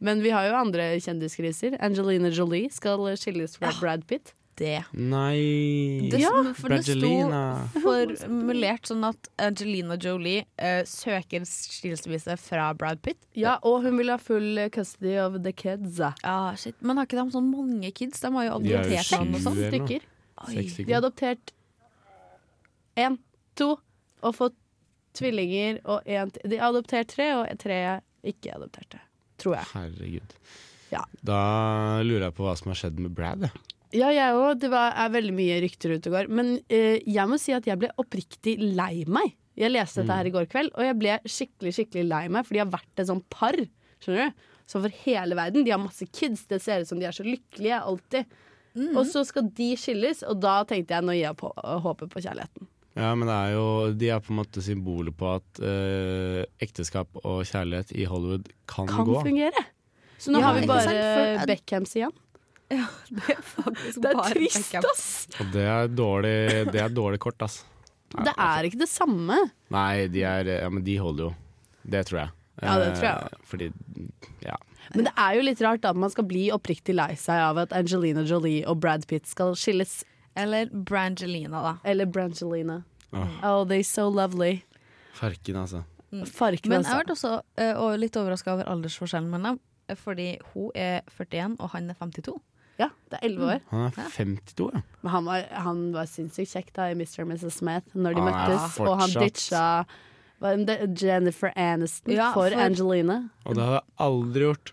Speaker 2: Men vi har jo andre kjendiskriser. Angelina Jolie skal skilles fra Brad Pitt.
Speaker 5: Det.
Speaker 3: Nei
Speaker 5: det for det sto
Speaker 3: Brangelina.
Speaker 5: formulert sånn at Angelina Jolie eh, søker skilsmisse fra Brad Pitt.
Speaker 2: Ja, og hun vil ha full custody of the kids.
Speaker 5: Ah, shit. Men har ikke de sånn mange kids? De har jo
Speaker 3: De er jo
Speaker 5: adoptert noen og
Speaker 3: sju
Speaker 5: sånn.
Speaker 3: eller noe.
Speaker 2: Stykker.
Speaker 5: Oi.
Speaker 3: Seks
Speaker 2: De har
Speaker 3: stykker.
Speaker 2: adoptert én, to, og fått tvillinger og én til. De har adoptert tre, og tre ikke adopterte. Tror jeg.
Speaker 3: Herregud.
Speaker 2: Ja.
Speaker 3: Da lurer jeg på hva som har skjedd med Brad. jeg.
Speaker 2: Ja, jeg òg. Det var, er veldig mye rykter ute og går. Men eh, jeg må si at jeg ble oppriktig lei meg. Jeg leste dette her i går kveld, og jeg ble skikkelig skikkelig lei meg, for de har vært et sånt par. Skjønner du? Så for hele verden. De har masse kids, det ser ut som de er så lykkelige alltid. Og så skal de skilles, og da tenkte jeg nå gir jeg på, håpet på kjærligheten.
Speaker 3: Ja, men det er jo, De er på en måte symbolet på at eh, ekteskap og kjærlighet i Hollywood kan,
Speaker 2: Kan
Speaker 3: gå.
Speaker 2: fungere. Så nå
Speaker 5: Ja,
Speaker 2: har vi
Speaker 5: ikke sant,
Speaker 2: bare
Speaker 5: for-
Speaker 2: Beckhams igjen.
Speaker 5: Det er faktisk
Speaker 2: Det er
Speaker 5: bare
Speaker 2: trist,
Speaker 5: backup.
Speaker 3: Og det er dårlig, det er dårlig kort, altså. ass.
Speaker 2: Det er ikke det samme.
Speaker 3: Nei, de er, ja, men de holder jo. Det tror jeg.
Speaker 2: Ja, det tror jeg
Speaker 3: Eh, Fordi, ja.
Speaker 2: Men det er jo litt rart at man skal bli oppriktig lei seg av at Angelina Jolie og Brad Pitt skal skilles.
Speaker 5: Eller Brangelina, da.
Speaker 2: Eller Brangelina.
Speaker 3: Åh,
Speaker 2: Oh, they so lovely.
Speaker 3: farken, altså.
Speaker 2: Farken,
Speaker 5: Mm. Men jeg
Speaker 2: altså.
Speaker 5: har vært også eh, og litt overraska over aldersforskjellen mellom dem. eh, Fordi hun er 41, og han er 52.
Speaker 2: Ja, det er
Speaker 5: Mm.
Speaker 2: 11 år.
Speaker 3: Han er 52, ja.
Speaker 2: Men han var, han var sinnssykt kjekk da i Mr. og Mrs. Smith når de
Speaker 3: Han er
Speaker 2: møttes, og han
Speaker 3: fortsatt-
Speaker 2: ditcha Hva er det? Jennifer Aniston
Speaker 5: Ja,
Speaker 2: for,
Speaker 5: for-
Speaker 2: Angelina.
Speaker 3: Og det hadde jeg aldri gjort.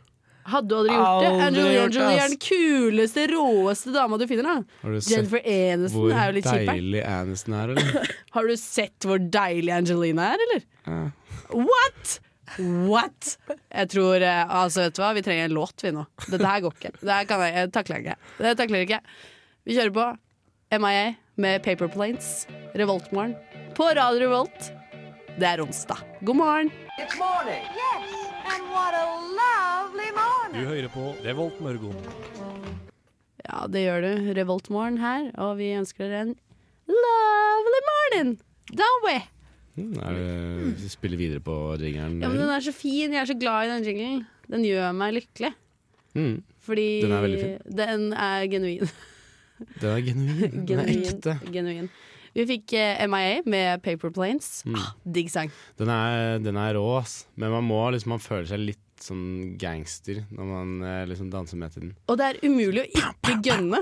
Speaker 2: Hadde du aldri gjort det?
Speaker 3: Aldri
Speaker 2: Angelina
Speaker 3: gjort det,
Speaker 2: Jolie er
Speaker 3: ass.
Speaker 2: den kuleste, råeste dama du finner. da
Speaker 3: Har du sett
Speaker 2: Jennifer Aniston
Speaker 3: hvor
Speaker 2: er jo litt kjip her.
Speaker 3: deilig Aniston er, eller?
Speaker 2: Har du sett hvor deilig Angelina er, eller?
Speaker 3: Ja.
Speaker 2: What?! What?! Jeg tror eh, Altså, vet du hva, vi trenger en låt, vi nå. Dette her går ikke. Det her kan jeg, jeg takler ikke. Det takler jeg ikke. Vi kjører på MIA med Paper Planes, Revoltmorgen, på Radio Revolt. Det er onsdag. God morgen!
Speaker 6: Du hører på Revolt Mørgon.
Speaker 2: Ja, det gjør du. Revoltmorgen her, og vi ønsker dere en lovely morning! Don't we?
Speaker 3: Mm, Er det, vi spiller videre på jingeren.
Speaker 2: Ja, men den er så fin. Jeg er så glad i den jinglen. Den gjør meg lykkelig.
Speaker 3: mm,
Speaker 2: Fordi
Speaker 3: Den er veldig
Speaker 2: den er genuin.
Speaker 3: den er genuin. Den er
Speaker 2: Genuin.
Speaker 3: ekte.
Speaker 2: genuin. Vi fikk eh, MIA med Paper Planes.
Speaker 3: Mm.
Speaker 2: Ah, digg sang.
Speaker 3: Den er, den er rå, ass. Men man må liksom Man føler seg litt sånn gangster når man eh, liksom danser med til den.
Speaker 2: Og det er umulig å ikke gønne.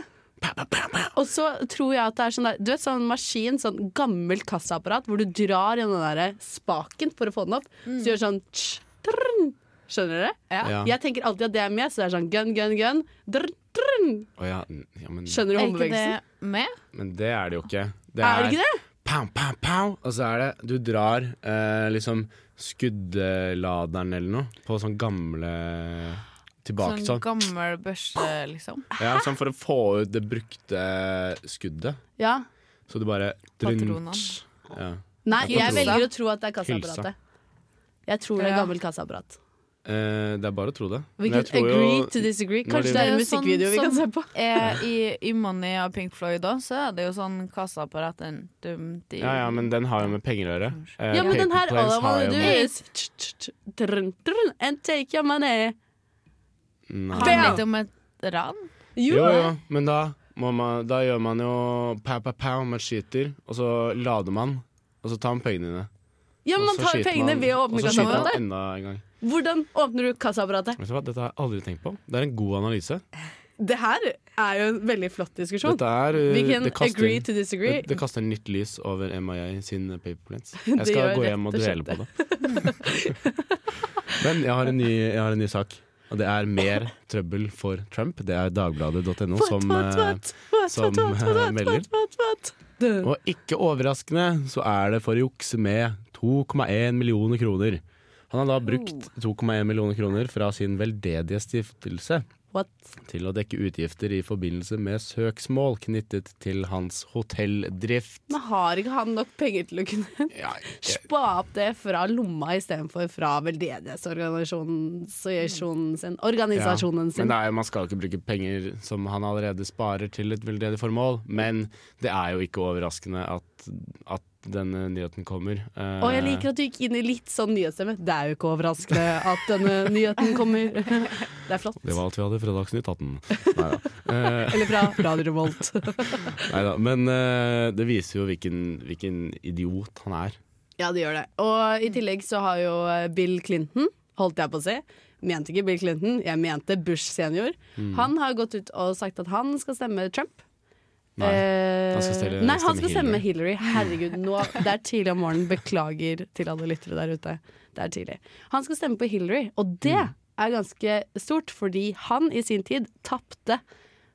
Speaker 2: Og så tror jeg at det er sånn der, Du vet sånn maskin, sånn gammelt kassaapparat, hvor du drar i den derre spaken for å få den opp. Så gjør sånn tsch, trrn. Skjønner dere?
Speaker 3: Ja.
Speaker 2: Jeg tenker alltid at det er med, så det er sånn gun, gun, gun. Drrn, drrn.
Speaker 3: Å ja, n- ja men,
Speaker 2: Skjønner du
Speaker 5: Er ikke det
Speaker 2: håndbevegelsen?
Speaker 5: med?
Speaker 3: men det er det jo ikke. Det
Speaker 2: Er det ikke det?
Speaker 3: Pow, pow, pow. Og så er det Du drar eh, liksom skuddladeren eller noe på sånn gamle Tilbake
Speaker 5: Sånn
Speaker 3: sånn.
Speaker 5: gammel børse, liksom.
Speaker 3: Ja, sånn for å få ut det brukte skuddet.
Speaker 2: Ja.
Speaker 3: Så du bare
Speaker 5: Patronene.
Speaker 3: Tsch. Ja.
Speaker 2: Nei,
Speaker 3: Jeg
Speaker 2: jeg
Speaker 3: tror det.
Speaker 2: velger å tro at det er kassaapparatet. Jeg tror det er
Speaker 5: Ja.
Speaker 2: gammelt kassaapprat.
Speaker 3: Eh, det er bare å tro det.
Speaker 2: We
Speaker 3: Men jeg
Speaker 2: could
Speaker 3: tror jo-
Speaker 2: agree to disagree.
Speaker 3: når de-
Speaker 2: Kanskje det er en
Speaker 5: Det er jo sånn
Speaker 2: musikkvideo vi kan se
Speaker 5: som-
Speaker 2: på.
Speaker 5: Eh, I, I Money av Pink Floyd òg, så er det jo sånn kassaapparat den dum, di-
Speaker 3: Ja, ja, men den har jo med penger å gjøre. Eh,
Speaker 2: Ja, men den her
Speaker 3: Paper
Speaker 2: All
Speaker 3: Planes
Speaker 2: I wanna
Speaker 3: har jo
Speaker 2: do
Speaker 3: med-
Speaker 2: is tch, tch, tch, drrn, drrn, And take your money
Speaker 3: Nei.
Speaker 5: Handler det ikke om et ran?
Speaker 2: Jo,
Speaker 3: Jo, jo, men da, må man, da gjør man jo pow, pow, pow, man skyter, og så lader man, og så tar man pengene dine.
Speaker 2: Ja, men
Speaker 3: Og
Speaker 2: man
Speaker 3: så
Speaker 2: tar
Speaker 3: skyter
Speaker 2: pengene
Speaker 3: man-
Speaker 2: ved å åpne
Speaker 3: Og så skyter man
Speaker 2: kassaapparatet.
Speaker 3: enda en gang.
Speaker 2: Hvordan åpner du kassaapparatet?
Speaker 3: Vet du hva, Dette har jeg aldri tenkt på. Det er en god analyse.
Speaker 2: Det her er jo en veldig flott diskusjon.
Speaker 3: Dette er, uh,
Speaker 2: We can
Speaker 3: det, kaster,
Speaker 2: agree to
Speaker 3: det,
Speaker 2: disagree.
Speaker 3: det kaster nytt lys over MIA sin paper planes. Jeg
Speaker 2: Det
Speaker 3: skal
Speaker 2: gjør
Speaker 3: gå
Speaker 2: rett
Speaker 3: hjem og
Speaker 2: og
Speaker 3: dvele
Speaker 2: slett
Speaker 3: på det. Men jeg har, en ny, jeg har en ny sak. Og det er mer trøbbel for Trump. Det er dagbladet.no
Speaker 2: What,
Speaker 3: som,
Speaker 2: what,
Speaker 3: eh,
Speaker 2: what, what,
Speaker 3: som,
Speaker 2: what, what,
Speaker 3: eh,
Speaker 2: what,
Speaker 3: melder.
Speaker 2: what, what, what? Det-
Speaker 3: eh, Og ikke overraskende så er det for å jukse med 2,1 millioner kroner. Han har da brukt
Speaker 2: Oh.
Speaker 3: 2,1 millioner kroner fra sin veldedige stiftelse
Speaker 2: What?
Speaker 3: til å dekke utgifter i forbindelse med søksmål knyttet til hans hotelldrift.
Speaker 2: Men har ikke han nok penger til å kunne
Speaker 3: Ja, jeg-
Speaker 2: spa opp det fra lomma istedenfor fra veldedighetsorganisasjonen sin? Organisasjonen
Speaker 3: Mm. Ja,
Speaker 2: sin.
Speaker 3: Men det er, jo- man skal jo ikke bruke penger som han allerede sparer til et veldedig formål. Men det er jo ikke overraskende at, at denne nyheten kommer. Eh,
Speaker 2: Og jeg liker at du gikk inn i litt sånn nyhetsstemme. Det er jo ikke overraskende at denne nyheten kommer. Det er flott.
Speaker 3: Det var alt vi hadde i Fredagsnytt 18. Neida. Eh,
Speaker 2: Eller fra Radio Revolt.
Speaker 3: Neida, Men eh, det viser jo hvilken, hvilken idiot han er.
Speaker 2: Ja, det gjør det. Og i tillegg så har jo eh, Bill Clinton, holdt jeg på å si. Mente ikke Bill Clinton, jeg mente Bush senior.
Speaker 3: Mm.
Speaker 2: Han har gått ut og sagt at han skal stemme Trump.
Speaker 3: Nei,
Speaker 2: Eh,
Speaker 3: han skal stille-
Speaker 2: nei, han
Speaker 3: stemme
Speaker 2: skal stemme Hillary. Herregud, nå, det er tidlig om morgenen. Beklager til alle lyttere der ute. Det er tidlig. Han skal stemme på Hillary, og det
Speaker 3: Mm.
Speaker 2: er ganske stort, fordi han i sin tid tapte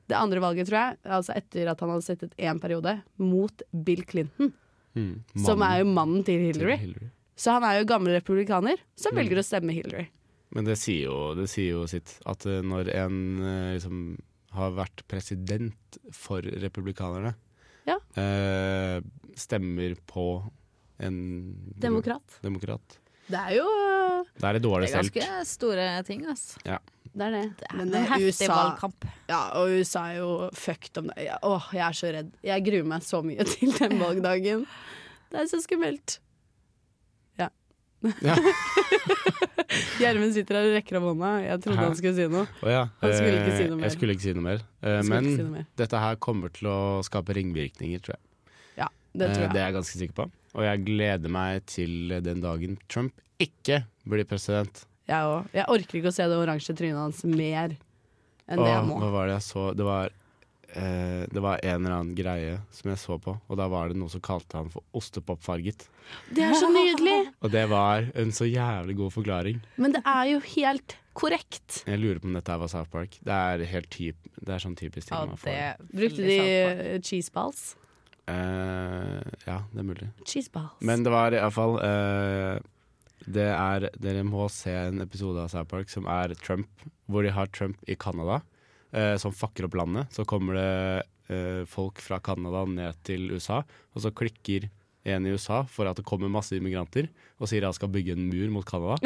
Speaker 2: det andre valget, tror jeg, altså etter at han hadde sittet én periode, mot Bill Clinton,
Speaker 3: Mm,
Speaker 2: som
Speaker 3: mannen
Speaker 2: er jo mannen til
Speaker 3: til
Speaker 2: Hillary.
Speaker 3: Hillary.
Speaker 2: Så han er jo gammel republikaner som velger å stemme Hillary.
Speaker 3: Men det sier jo, det sier jo sitt. At eh, når en eh, liksom har vært president for republikanerne,
Speaker 2: Ja.
Speaker 3: eh, stemmer på en
Speaker 2: Demokrat.
Speaker 3: demokrat.
Speaker 2: Det er jo
Speaker 3: Da er det dårlig
Speaker 5: Det er
Speaker 3: stelt.
Speaker 5: ganske store ting, ass.
Speaker 2: Det er det. eh,
Speaker 5: Det er en heftig valgkamp.
Speaker 2: Ja, og USA er jo fucked om det. Ja, Åh, jeg er så redd. Jeg gruer meg så mye til den valgdagen. Det er så skummelt. Ja.
Speaker 3: Ja.
Speaker 2: Gjermund sitter her og rekker opp hånda. Jeg trodde
Speaker 3: Hæ?
Speaker 2: han skulle si noe.
Speaker 3: Å ja,
Speaker 2: Han skulle ikke si
Speaker 3: eh,
Speaker 2: noe mer.
Speaker 3: Jeg skulle ikke si noe mer. Eh,
Speaker 2: skulle
Speaker 3: men
Speaker 2: ikke si noe mer.
Speaker 3: dette her kommer til å skape ringvirkninger, tror jeg.
Speaker 2: Ja, det tror
Speaker 3: Eh, Det
Speaker 2: jeg.
Speaker 3: er jeg ganske sikker på. Og jeg gleder meg til den dagen Trump ikke blir president.
Speaker 2: Jeg, òg. jeg orker ikke å se det oransje trynet hans mer enn det
Speaker 3: Åh,
Speaker 2: jeg må.
Speaker 3: hva var det jeg så? Det var eh, Det var en eller annen greie som jeg så på, og da var det noen som kalte han for ostepopfarget.
Speaker 2: Det er så nydelig!
Speaker 3: Og det var en så jævlig god forklaring.
Speaker 2: Men det er jo helt korrekt.
Speaker 3: Jeg lurer på om dette her var South Park. Det er, helt typ, det er sånn typisk ting
Speaker 5: Ja,
Speaker 3: man får.
Speaker 5: det
Speaker 2: Brukte de eh, cheese balls?
Speaker 3: Eh, ja, det er mulig.
Speaker 2: Cheese balls.
Speaker 3: Men det var iallfall uh, Det er Dere må se en episode av South Park som er Trump, hvor de har Trump i Canada, eh, som fucker opp landet. Så kommer det eh, folk fra Canada ned til USA, og så klikker en i USA for at det kommer masse immigranter, og sier han skal bygge en mur mot Canada.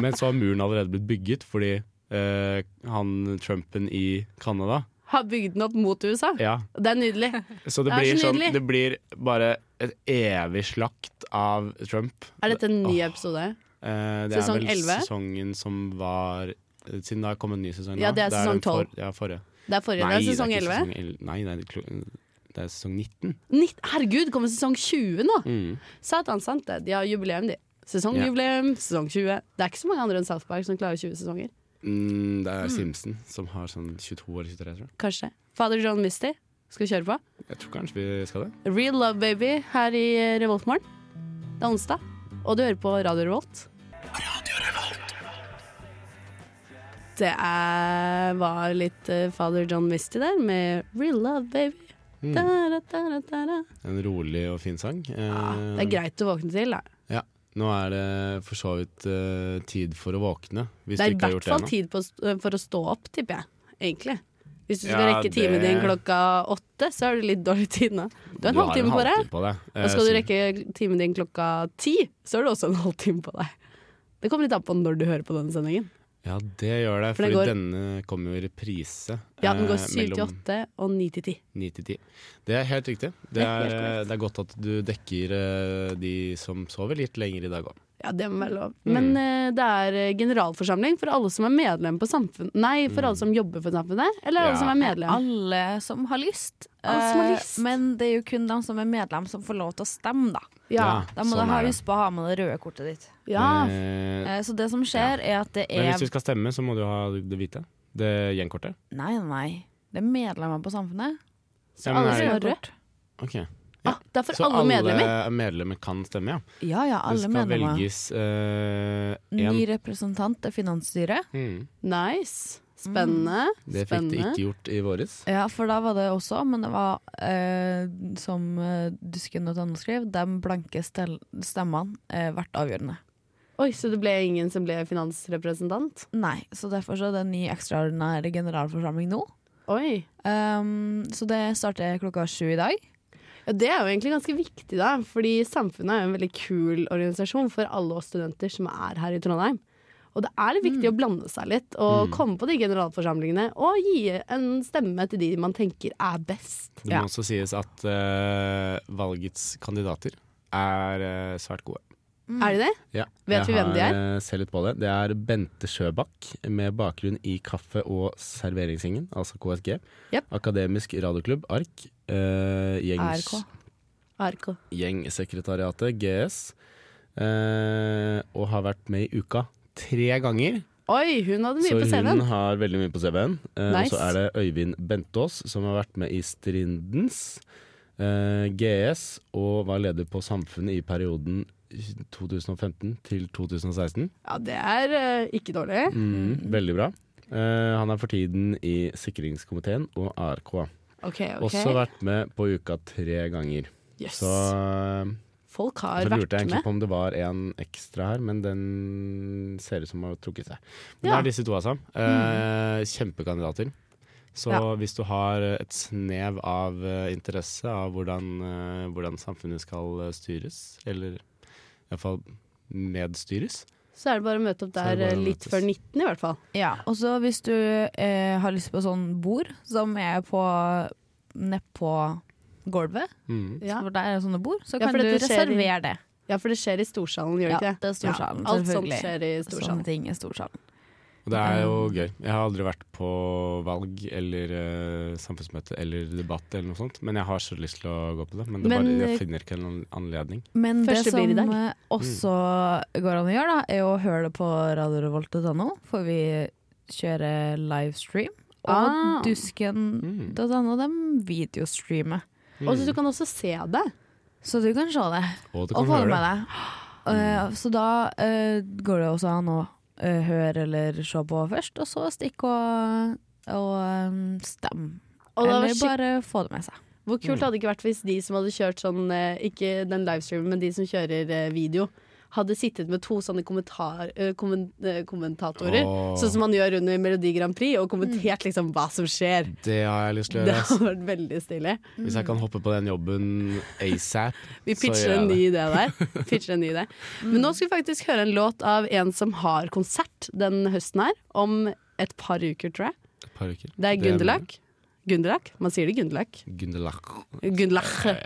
Speaker 3: Men så har muren allerede blitt bygget fordi eh, han Trumpen i Canada
Speaker 2: Har bygd den opp mot USA.
Speaker 3: Ja,
Speaker 2: Det er nydelig.
Speaker 3: så det
Speaker 2: Det er
Speaker 3: blir,
Speaker 2: så
Speaker 3: sånn,
Speaker 2: nydelig.
Speaker 3: det blir bare et evig slakt av Trump.
Speaker 2: Er dette en ny
Speaker 3: Åh.
Speaker 2: episode?
Speaker 3: Eh, det
Speaker 2: Sesong
Speaker 3: er vel
Speaker 2: 11?
Speaker 3: sesongen som var eh, Siden det har kommet en ny sesong nå.
Speaker 2: Ja, det er sesong
Speaker 3: den
Speaker 2: 12.
Speaker 3: For, ja, forrige.
Speaker 2: Det er forrige. det er sesong 11.
Speaker 3: Sesong 11. Nei, det er, klo- det er sesong 19.
Speaker 2: Nitt- Herregud, kommer sesong 20 nå!
Speaker 3: Mm.
Speaker 2: Satan sant det. De har jubileum, de. Sesongjubileum, sesong 20. Det er ikke så mange andre enn South Park som klarer 20 sesonger.
Speaker 3: Mm, det er Simpson som har sånn 22 eller 23, tror jeg.
Speaker 2: Kanskje. Father John Misty skal vi kjøre på.
Speaker 3: Jeg tror kanskje vi skal det.
Speaker 2: Real Love Baby her i Revoltmorgen. Det er onsdag, og du hører på Radio Revolt. Det er, var litt eh, Father John Misty der med Real Love Baby.
Speaker 3: Mm.
Speaker 2: Da, da, da, da, da, da. Ah,
Speaker 3: En rolig og fin sang.
Speaker 2: Mm.
Speaker 3: Eh,
Speaker 2: Det er greit å våkne til, da.
Speaker 3: Ja. Nå er det for så vidt eh, tid for å våkne. Hvis
Speaker 2: Det er i
Speaker 3: du ikke har
Speaker 2: hvert
Speaker 3: gjort det
Speaker 2: fall
Speaker 3: ennå.
Speaker 2: tid på, å st- eh, for å stå opp, tipper jeg. Egentlig. Hvis du skal
Speaker 3: Ja,
Speaker 2: rekke timen
Speaker 3: det-
Speaker 2: din klokka åtte, så har du litt dårlig tid nå. Du har en halvtime på deg.
Speaker 3: på deg. Eh,
Speaker 2: Og skal du rekke timen din klokka ti, så har du også en halvtime på deg. Det kommer litt an på når du hører på denne sendingen.
Speaker 3: Ja, det gjør det.
Speaker 2: For
Speaker 3: For
Speaker 2: det går-
Speaker 3: denne kommer jo i reprise.
Speaker 2: Ja, den går
Speaker 3: eh,
Speaker 2: syv til
Speaker 3: mellom
Speaker 2: åtte og ni til ti.
Speaker 3: 9 til 10. Det er helt riktig. Det
Speaker 2: Det er
Speaker 3: er,
Speaker 2: helt
Speaker 3: eh,
Speaker 2: korrekt.
Speaker 3: det er godt at du dekker eh, de som sover litt lenger i dag òg.
Speaker 2: Ja, det må være lov.
Speaker 3: Mm.
Speaker 2: Men eh, det er eh, generalforsamling for alle som er medlem på samfunn... Nei, for alle som jobber for samfunnet, eller alle
Speaker 3: Mm. Ja.
Speaker 2: som er medlem.
Speaker 5: Alle som har lyst.
Speaker 2: Alle som har
Speaker 5: Eh,
Speaker 2: lyst.
Speaker 5: Men det er jo kun de som er medlem, som får lov til å stemme, da.
Speaker 2: Ja.
Speaker 5: Da må
Speaker 3: sånn
Speaker 5: du ha husk på å ha med Sånn det røde kortet ditt.
Speaker 2: ja. Eh,
Speaker 3: Eh,
Speaker 5: Eh, Så det som skjer, er at det
Speaker 3: men
Speaker 5: er
Speaker 3: hvis du skal stemme, så må du ha det hvite. Det gjenkortet.
Speaker 5: Nei, nei. Det er medlemmer på samfunnet.
Speaker 3: Ja,
Speaker 2: Så
Speaker 3: men
Speaker 2: alle
Speaker 3: er
Speaker 2: som
Speaker 5: Røde
Speaker 2: har rødt.
Speaker 5: kort.
Speaker 3: Ok.
Speaker 2: Ah, det er for
Speaker 3: Så
Speaker 2: alle medlemmer.
Speaker 3: medlemmer kan stemme, ja.
Speaker 5: Ja ja,
Speaker 3: Det
Speaker 5: alle
Speaker 3: skal
Speaker 5: medlemmer.
Speaker 3: velges eh, én.
Speaker 5: Ny representant til finansstyret.
Speaker 3: mm.
Speaker 2: Nice. Spennende.
Speaker 3: Det fikk de
Speaker 2: Spennende.
Speaker 3: ikke gjort i våres.
Speaker 5: Ja, for da var det også, men det var eh, som eh, dusken.no skrev, de blanke stel stemmene eh, ble avgjørende.
Speaker 2: Oi, så det ble ingen som ble finansrepresentant?
Speaker 5: Nei, så derfor så er det en ny ekstraordinær generalforsamling nå.
Speaker 2: Oi.
Speaker 5: Ehm, så det starter klokka sju i dag.
Speaker 2: Ja, Det er jo egentlig ganske viktig, da. Fordi Samfunnet er jo en veldig kul organisasjon for alle oss studenter som er her i Trondheim. Og det er litt
Speaker 5: Mm.
Speaker 2: viktig å blande seg litt
Speaker 3: Mm.
Speaker 2: og komme på de generalforsamlingene og gi en stemme til de man tenker er best.
Speaker 3: Det må også sies at eh, valgets kandidater er eh, svært gode.
Speaker 2: Er de det?
Speaker 3: Ja.
Speaker 2: Vet vi hvem de er?
Speaker 3: Jeg har, eh, ser litt på det. Det er Bente Sjøbakk med bakgrunn i Kaffe og serveringsringen, altså KSG.
Speaker 2: Jep.
Speaker 3: Akademisk radioklubb, ARK. Eh, gjengs,
Speaker 5: ARK.
Speaker 2: ARK.
Speaker 3: gjengsekretariatet, GS. Eh, og har vært med i uka tre ganger.
Speaker 2: Oi, hun hadde mye på
Speaker 3: så
Speaker 2: CV-en.
Speaker 3: hun har veldig mye på CV-en. Eh,
Speaker 2: Nice.
Speaker 3: Og så er det Øyvind Bentås, som har vært med i Strindens, eh, GS, og var leder på Samfunnet i perioden 2015 til 2016.
Speaker 2: Ja, det er eh, ikke dårlig.
Speaker 3: Mm, veldig bra. Eh, han er for tiden i sikringskomiteen og ARK.
Speaker 2: OK, OK.
Speaker 3: Også vært med på uka tre ganger.
Speaker 2: Jøs.
Speaker 3: Så, eh,
Speaker 2: Folk
Speaker 3: så
Speaker 2: har vært
Speaker 3: lurte jeg egentlig
Speaker 2: med.
Speaker 3: på om det var en ekstra her, men den ser ut som har trukket seg. Men det
Speaker 2: Ja. Mm.
Speaker 3: er disse to, altså. Eh, kjempekandidater. Så
Speaker 2: Ja.
Speaker 3: hvis du har et snev av eh, interesse av hvordan, eh, hvordan samfunnet skal eh, styres, eller iallfall medstyres
Speaker 2: Så er det bare å møte opp
Speaker 3: Så er det
Speaker 2: der
Speaker 3: bare å
Speaker 2: eh, litt
Speaker 3: møtes.
Speaker 2: før 19, i hvert fall.
Speaker 5: Ja, og så hvis du eh, har lyst på sånn bord som er på nedpå gulvet,
Speaker 3: mm.
Speaker 2: Ja.
Speaker 5: for der er det sånne bord, så
Speaker 2: Ja,
Speaker 5: kan
Speaker 2: for
Speaker 5: du
Speaker 2: dette skjer i-
Speaker 5: reservere det.
Speaker 2: Ja, for det skjer i storsalen, gjør det
Speaker 5: Ja,
Speaker 2: ikke
Speaker 5: det er storsalen,
Speaker 2: Alt sånt
Speaker 5: selvfølgelig. Sånn.
Speaker 2: skjer i
Speaker 5: Sånne
Speaker 2: storsalen.
Speaker 5: ting er storsalen.
Speaker 3: Og det er
Speaker 2: Mm.
Speaker 3: jo gøy. Jeg har aldri vært på valg eller eh, samfunnsmøte eller debatt eller noe sånt, men jeg har så lyst til å gå på det. Men, det
Speaker 2: Men,
Speaker 3: bare,
Speaker 2: eh,
Speaker 3: jeg finner ikke en anledning.
Speaker 5: Men det
Speaker 2: Første
Speaker 5: som
Speaker 2: blir i dag.
Speaker 5: eh, også går an å gjøre, da, er å høre det på radiorevolt.no, for vi kjører livestream. og
Speaker 2: Ah.
Speaker 5: dusken.no. De videostreamer.
Speaker 2: Og så du kan også se det.
Speaker 5: Så du kan se det,
Speaker 3: Mm. Og du kan
Speaker 5: og få
Speaker 3: høre
Speaker 5: det med
Speaker 3: det.
Speaker 5: deg. Eh, så da eh, går det også an å eh, høre eller se på først, og så stikke og, og eh, stemme.
Speaker 2: Og det var
Speaker 5: Eller
Speaker 2: skikkelig-
Speaker 5: bare Mm. få det med seg.
Speaker 2: Hvor kult hadde det ikke vært hvis de som hadde kjørt sånn eh, Ikke den livestreamen, men de som kjører eh, video hadde sittet med to sånne kommentar, eh, kommen- eh, kommentatorer.
Speaker 3: Åh.
Speaker 2: Sånn som man gjør under Melodi Grand Prix, og kommentert
Speaker 5: Mm.
Speaker 2: liksom hva som skjer.
Speaker 3: Det har jeg lyst til å
Speaker 2: Det
Speaker 3: gjøre.
Speaker 2: hadde
Speaker 3: ass.
Speaker 2: vært veldig stilig.
Speaker 3: Hvis jeg kan hoppe på den jobben asap.
Speaker 2: Vi
Speaker 3: så
Speaker 2: pitcher
Speaker 3: gjør jeg
Speaker 2: en ny
Speaker 3: det.
Speaker 2: idé der. Pitcher en ny idé.
Speaker 5: Mm.
Speaker 2: Men nå skal vi faktisk høre en låt av en som har konsert den høsten her, om et par uker, tror jeg.
Speaker 3: Et par uker.
Speaker 2: Det er
Speaker 3: med
Speaker 2: Gunderlach. Gunderlach? Man sier det Gunderlach.
Speaker 3: Gunderlach.
Speaker 2: Gunderlach.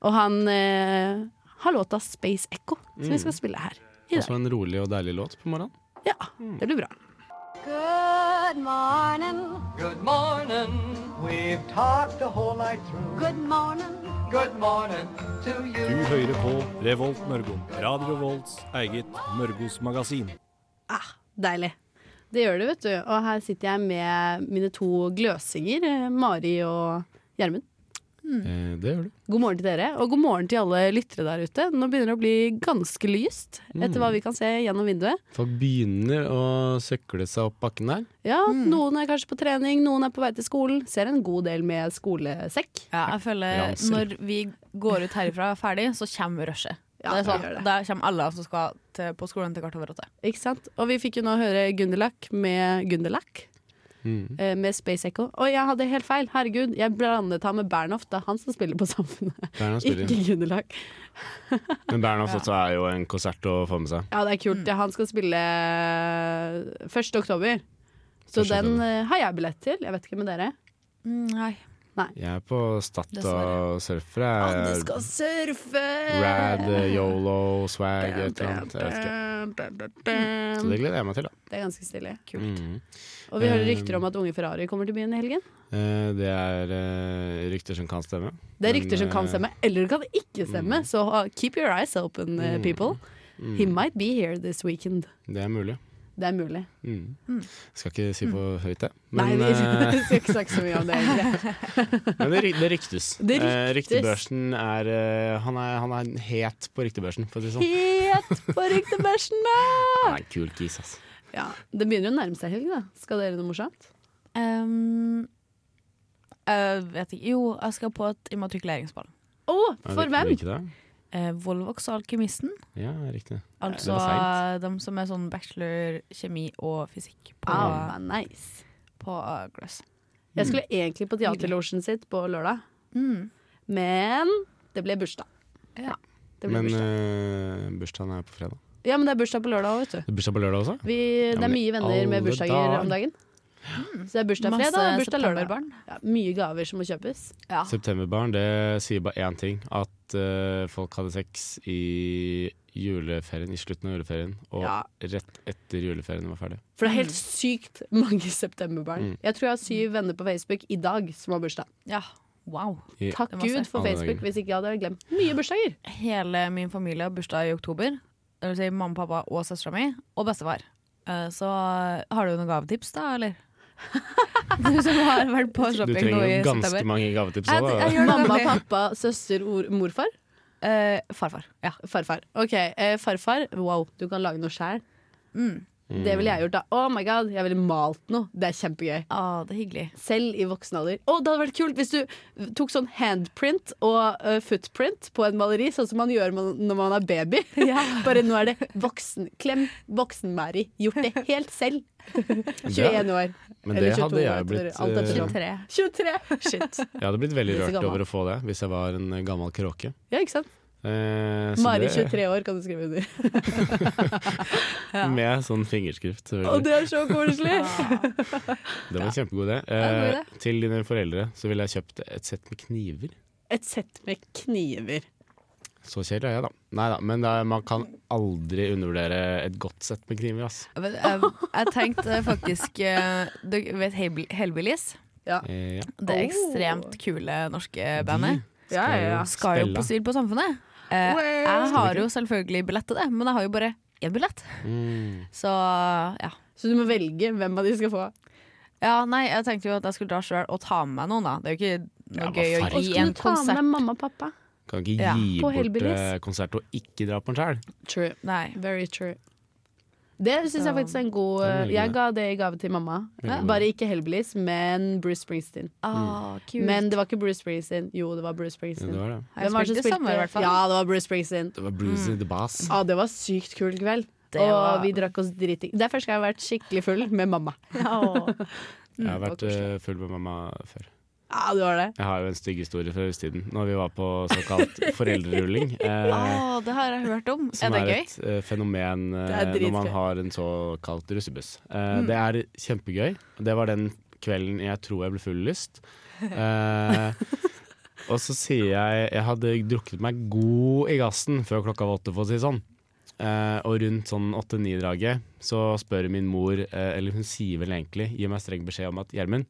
Speaker 2: Og han eh, har låta Space Echo, som vi skal spille her i dag.
Speaker 3: Også en rolig og deilig låt på morgenen.
Speaker 2: Ja, det blir bra.
Speaker 7: Good morning.
Speaker 8: Good morning. We've talked the whole night through.
Speaker 7: Good morning.
Speaker 8: Good morning to you.
Speaker 6: Du hører på Revolt Mørgo. Radio Revolts eget Mørgos magasin.
Speaker 2: Ah, Deilig. Det gjør det, vet du. Og her sitter jeg med mine to gløsinger, eh, Mari og Gjermund. Mm.
Speaker 3: Eh, det gjør du.
Speaker 2: God morgen til dere, og god morgen til alle lyttere der ute. Nå begynner det å bli ganske lyst, etter hva vi kan se gjennom vinduet.
Speaker 3: Folk begynner å søkle seg opp bakken der.
Speaker 2: Ja, Noen er kanskje på trening, noen er på vei til skolen. Ser en god del med skolesekk.
Speaker 5: Ja, jeg føler
Speaker 3: Ransel.
Speaker 5: Når vi går ut herifra og er ferdig, så kommer rushet.
Speaker 2: Ja,
Speaker 5: det er sånn,
Speaker 2: det gjør det.
Speaker 5: Da kommer alle som skal til, på skolen til kvart over åtte.
Speaker 2: Ikke sant? Og vi fikk jo nå høre Gunderlach med Gunderlach.
Speaker 3: Mm.
Speaker 2: eh, Med Space Echo. Og jeg hadde helt feil! Herregud, jeg blandet han med Bernhoft. Det er han som spiller på Samfunnet,
Speaker 3: Bernhoft spiller.
Speaker 2: ikke Gunderlach.
Speaker 3: Men Bernhoft også er jo en konsert å få med seg.
Speaker 2: Ja, det er
Speaker 3: Mm.
Speaker 2: kult. Ja, Han skal spille 1. oktober. Så
Speaker 3: 1.
Speaker 2: den
Speaker 3: oktober.
Speaker 2: eh, har jeg billett til. Jeg vet ikke med dere.
Speaker 5: nei.
Speaker 3: Jeg er på Stad
Speaker 5: Dessverre.
Speaker 3: og surfer. jeg.
Speaker 2: Anne skal surfe!
Speaker 3: Rad, eh, yolo, swag, et eller annet. Jeg vet ikke. Mm. Så det gleder jeg meg til, da.
Speaker 2: Det er ganske stilig.
Speaker 3: Mhm.
Speaker 2: Og vi hører
Speaker 3: Eh,
Speaker 2: rykter om at unge Ferrari kommer til byen i helgen.
Speaker 3: Eh, det er eh, rykter som kan stemme.
Speaker 2: Det er
Speaker 3: Men,
Speaker 2: rykter som kan
Speaker 3: eh, mm.
Speaker 2: stemme, eller det kan ikke stemme. Så ha- keep your eyes open, eh, people. He might be here this weekend.
Speaker 3: Det er mulig.
Speaker 2: Det er mulig.
Speaker 3: Mhm. Skal ikke si for høyt, det.
Speaker 2: Mm. Nei,
Speaker 3: Men,
Speaker 2: vi
Speaker 3: eh,
Speaker 2: skal ikke snakke så mye om det. egentlig.
Speaker 3: men det, ry- det ryktes.
Speaker 2: Det
Speaker 3: Eh,
Speaker 2: ryktes.
Speaker 3: ryktebørsen er, eh, han er Han er het på ryktebørsen, for å si det sånn.
Speaker 2: Helt på ryktebørsen!
Speaker 3: Han er en kul kis, ass.
Speaker 2: Ja, det begynner jo å nærme seg helg, da. Skal dere noe morsomt?
Speaker 5: Ehm, jeg Eh, vet ikke. Jo, jeg skal på et immatrikuleringsball.
Speaker 2: Å,
Speaker 3: Er
Speaker 2: for
Speaker 3: det-
Speaker 2: hvem?
Speaker 3: er det ikke det?
Speaker 5: Eh, Volvox og Alkymisten.
Speaker 3: Ja, riktig.
Speaker 5: Altså
Speaker 3: var
Speaker 5: de som er sånn bachelor kjemi og fysikk på,
Speaker 2: Ah, nice.
Speaker 5: på eh, Gløss.
Speaker 2: Jeg skulle egentlig på Teaterlosjen sitt på lørdag,
Speaker 5: Mm.
Speaker 2: men det ble bursdag.
Speaker 5: Ja.
Speaker 2: Det ble
Speaker 3: Men
Speaker 2: bursdag.
Speaker 3: eh, bursdagen er på fredag.
Speaker 2: Ja, men det er bursdag på lørdag òg, vet du.
Speaker 3: Det er Bursdag på lørdag også?
Speaker 2: Vi, det
Speaker 3: men
Speaker 2: er
Speaker 3: i
Speaker 2: mye venner med
Speaker 3: alle
Speaker 2: bursdager
Speaker 3: dager.
Speaker 2: om dagen. Så det er bursdag
Speaker 5: Mm. Masse
Speaker 2: fredag og bursdag lørdag.
Speaker 5: septemberbarn.
Speaker 2: Ja, mye gaver som må kjøpes.
Speaker 5: Ja.
Speaker 3: Septemberbarn, det sier bare én ting. At eh, folk hadde sex i juleferien, i slutten av juleferien, og
Speaker 2: Ja.
Speaker 3: rett etter juleferien var ferdig.
Speaker 2: For det er helt sykt mange septemberbarn. Jeg tror jeg har syv venner på Facebook i dag som har bursdag.
Speaker 5: ja. Wow.
Speaker 3: I,
Speaker 2: Takk
Speaker 5: Det er masse.
Speaker 2: Gud for
Speaker 3: Alle dager.
Speaker 2: Facebook, hvis ikke jeg hadde glemt mye bursdager.
Speaker 5: hele min familie har bursdag i oktober. Det vil si mamma, pappa og søstera mi, og bestefar. Eh, Så har du noen gavetips, da, eller? Du som har vært på
Speaker 3: du
Speaker 5: shopping nå
Speaker 3: trenger
Speaker 5: i
Speaker 3: jo ganske
Speaker 5: september.
Speaker 3: mange gavetips
Speaker 5: Jeg,
Speaker 3: òg, da.
Speaker 5: jeg gjør det
Speaker 2: Mamma,
Speaker 5: nemlig.
Speaker 2: pappa, søster, or, morfar.
Speaker 5: Eh, farfar. Ja.
Speaker 2: Farfar. Ok, eh, farfar. Wow, du kan lage noe sjæl.
Speaker 3: Mm.
Speaker 2: Det ville jeg gjort, da. Oh my god, jeg ville malt noe. Det er kjempegøy.
Speaker 5: Ah, det er hyggelig.
Speaker 2: Selv i voksen alder. Å, det hadde vært kult hvis du tok sånn handprint og eh, footprint på en maleri, sånn som man gjør man- når man er baby. Bare nå er det voksen. Klem voksen-Mari. Gjort det helt selv. 21 år.
Speaker 3: Men
Speaker 2: Eller
Speaker 3: det
Speaker 2: 22
Speaker 3: hadde jeg
Speaker 2: etter
Speaker 3: blitt
Speaker 2: alt
Speaker 3: eh,
Speaker 2: ettersom. 23! Shit.
Speaker 3: Jeg hadde blitt veldig
Speaker 2: Litt
Speaker 3: rørt
Speaker 2: gammel.
Speaker 3: over å få det hvis jeg var en eh, gammel kråke.
Speaker 2: Ja, ikke sant?
Speaker 3: Eh, så
Speaker 2: Mari
Speaker 3: det-
Speaker 2: 23 år, kan du skrive under.
Speaker 3: Med sånn fingerskrift. selvfølgelig.
Speaker 2: Å, det er så koselig!
Speaker 3: det var en kjempegod idé.
Speaker 5: en
Speaker 3: Eh, til dine foreldre så ville jeg kjøpt et sett med kniver.
Speaker 2: Et sett med kniver.
Speaker 3: Så kjedelig er jeg, da. Nei da, men det er, man kan aldri undervurdere et godt sett med kniver, ass.
Speaker 5: Men, eh, jeg tenkte faktisk eh, Du vet Hellbil- Hellbillies?
Speaker 3: Eh, ja.
Speaker 5: Det
Speaker 2: Oh.
Speaker 5: ekstremt kule norske bandet.
Speaker 2: Ja, ja, ja.
Speaker 5: Skal jo
Speaker 3: spille.
Speaker 5: på Syl på Samfunnet. Eh, Jeg har jo selvfølgelig billett til det, men jeg har jo bare én billett.
Speaker 3: Mm.
Speaker 5: Så ja.
Speaker 2: Så du må velge hvem av de skal få.
Speaker 5: Ja, nei, jeg tenkte jo at jeg skulle dra sjøl og ta med meg noen, da. Det er jo ikke
Speaker 3: Ja,
Speaker 5: noe
Speaker 3: hva
Speaker 5: gøy å
Speaker 3: faen?
Speaker 2: Og
Speaker 5: gi
Speaker 2: skulle
Speaker 5: en
Speaker 2: du ta med
Speaker 5: konsert.
Speaker 2: deg mamma og pappa?
Speaker 3: Kan ikke
Speaker 5: Ja,
Speaker 3: gi
Speaker 2: på
Speaker 3: bort
Speaker 2: Hellbillies.
Speaker 3: eh, konsert og ikke dra på en sjæl.
Speaker 2: True.
Speaker 5: Nei.
Speaker 2: Very true. Det syns jeg faktisk er en god
Speaker 3: Det er veldig
Speaker 2: Jeg
Speaker 3: god.
Speaker 2: ga det i gave til mamma.
Speaker 3: Veldig god.
Speaker 2: Bare ikke Hellbillies, men Bruce Springsteen.
Speaker 3: Mm.
Speaker 5: Ah, kult.
Speaker 2: Men det var ikke Bruce Springsteen. Jo, det var Bruce
Speaker 3: Ja,
Speaker 2: Springsteen.
Speaker 3: det var det.
Speaker 5: Jeg
Speaker 2: Hvem var det som
Speaker 5: spilte
Speaker 2: spilte?
Speaker 5: sammen i hvert fall.
Speaker 2: Ja, det var Bruce Springsteen.
Speaker 3: Det var Bruce
Speaker 5: Mm.
Speaker 3: in the Bass.
Speaker 2: Ja, det var sykt kul kveld.
Speaker 5: Det
Speaker 2: og
Speaker 5: var-
Speaker 2: vi drakk oss dritings. Det er første gang jeg har vært skikkelig full med mamma.
Speaker 5: Mm.
Speaker 3: Jeg har vært eh, full med mamma før.
Speaker 2: Ja, det var det.
Speaker 3: Jeg har jo en stygg historie fra russetiden. Når vi var på såkalt foreldrerulling. Eh,
Speaker 5: Å, det har jeg hørt om.
Speaker 3: som
Speaker 5: er det
Speaker 3: er,
Speaker 5: gøy?
Speaker 3: et eh, fenomen eh,
Speaker 2: Det er
Speaker 3: når
Speaker 2: dritgøy. Mm.
Speaker 3: man har en såkalt russebuss. Eh, Det er kjempegøy. Det var den kvelden jeg tror jeg ble full lyst. Eh, og så sier jeg Jeg hadde drukket meg god i gassen før klokka var åtte, for å si det sånn. Eh, og rundt sånn åtte-ni-draget så spør min mor, eh, eller hun sier vel egentlig, gir meg streng beskjed om at Gjermund,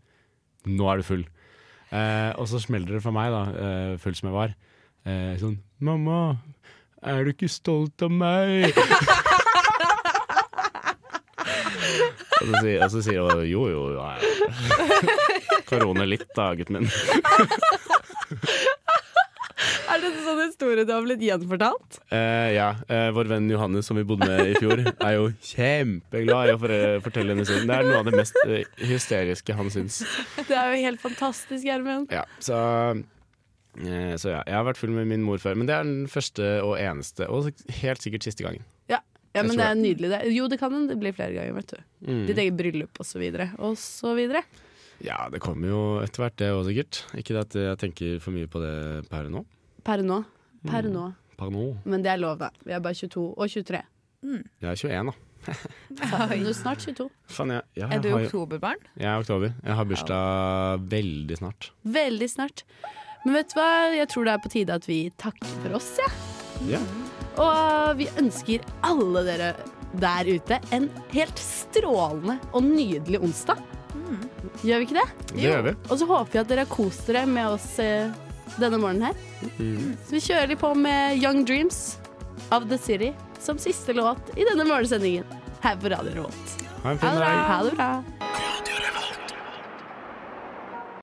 Speaker 3: nå er du full. Eh, og så smeller det for meg, da, eh, full som jeg var. Eh, sånn Mamma, er du ikke stolt av meg? og, så sier, og så sier hun jo, jo, ja, ja. Korone litt da, gutten min.
Speaker 2: Er dette sånn historie du har blitt gjenfortalt?
Speaker 3: Eh, ja, eh, Vår venn Johannes som vi bodde med i fjor, er jo kjempeglad i å for- fortelle henne sin. Det er noe av det mest eh, hysteriske han syns.
Speaker 2: Det er jo helt fantastisk, Gjermund.
Speaker 3: Ja, så, eh, så ja, jeg har vært full med min mor før. Men det er den første og eneste, og helt sikkert siste gangen.
Speaker 2: Ja,
Speaker 3: Jeg
Speaker 2: men
Speaker 3: tror Mm.
Speaker 2: det er nydelig. Det. er- Jo, det kan det blir flere ganger, vet du. Ditt eget bryllup og så videre. Og så videre.
Speaker 3: Ja, det kommer jo etter hvert, det òg sikkert. Ikke at jeg tenker for mye på det per nå.
Speaker 2: Per nå. Per
Speaker 3: Mm.
Speaker 2: nå.
Speaker 3: Per nå.
Speaker 2: Men det er lov, da. Vi er bare 22 og 23.
Speaker 3: Jeg er 21, da.
Speaker 2: Faen, du er snart 22.
Speaker 3: Faen, jeg, ja,
Speaker 5: Er
Speaker 3: jeg,
Speaker 5: du
Speaker 3: har, jo-
Speaker 5: oktoberbarn?
Speaker 3: jeg er oktober. Jeg har bursdag veldig snart.
Speaker 2: Veldig snart. Men vet du hva, jeg tror det er på tide at vi takker for oss, ja.
Speaker 3: Ja.
Speaker 2: Og vi ønsker alle dere der ute en helt strålende og nydelig onsdag. Mm. Gjør vi ikke det?
Speaker 3: Det gjør vi.
Speaker 2: Og så håper vi at dere har kost dere med oss eh, denne morgenen her.
Speaker 3: Mm.
Speaker 2: Så vi kjører litt på med Young Dreams of The City som siste låt i denne morgensendingen her på Radio Revolt.
Speaker 3: Ha
Speaker 2: Ha
Speaker 3: en fin
Speaker 2: det bra.
Speaker 3: dag.
Speaker 2: Ha det bra.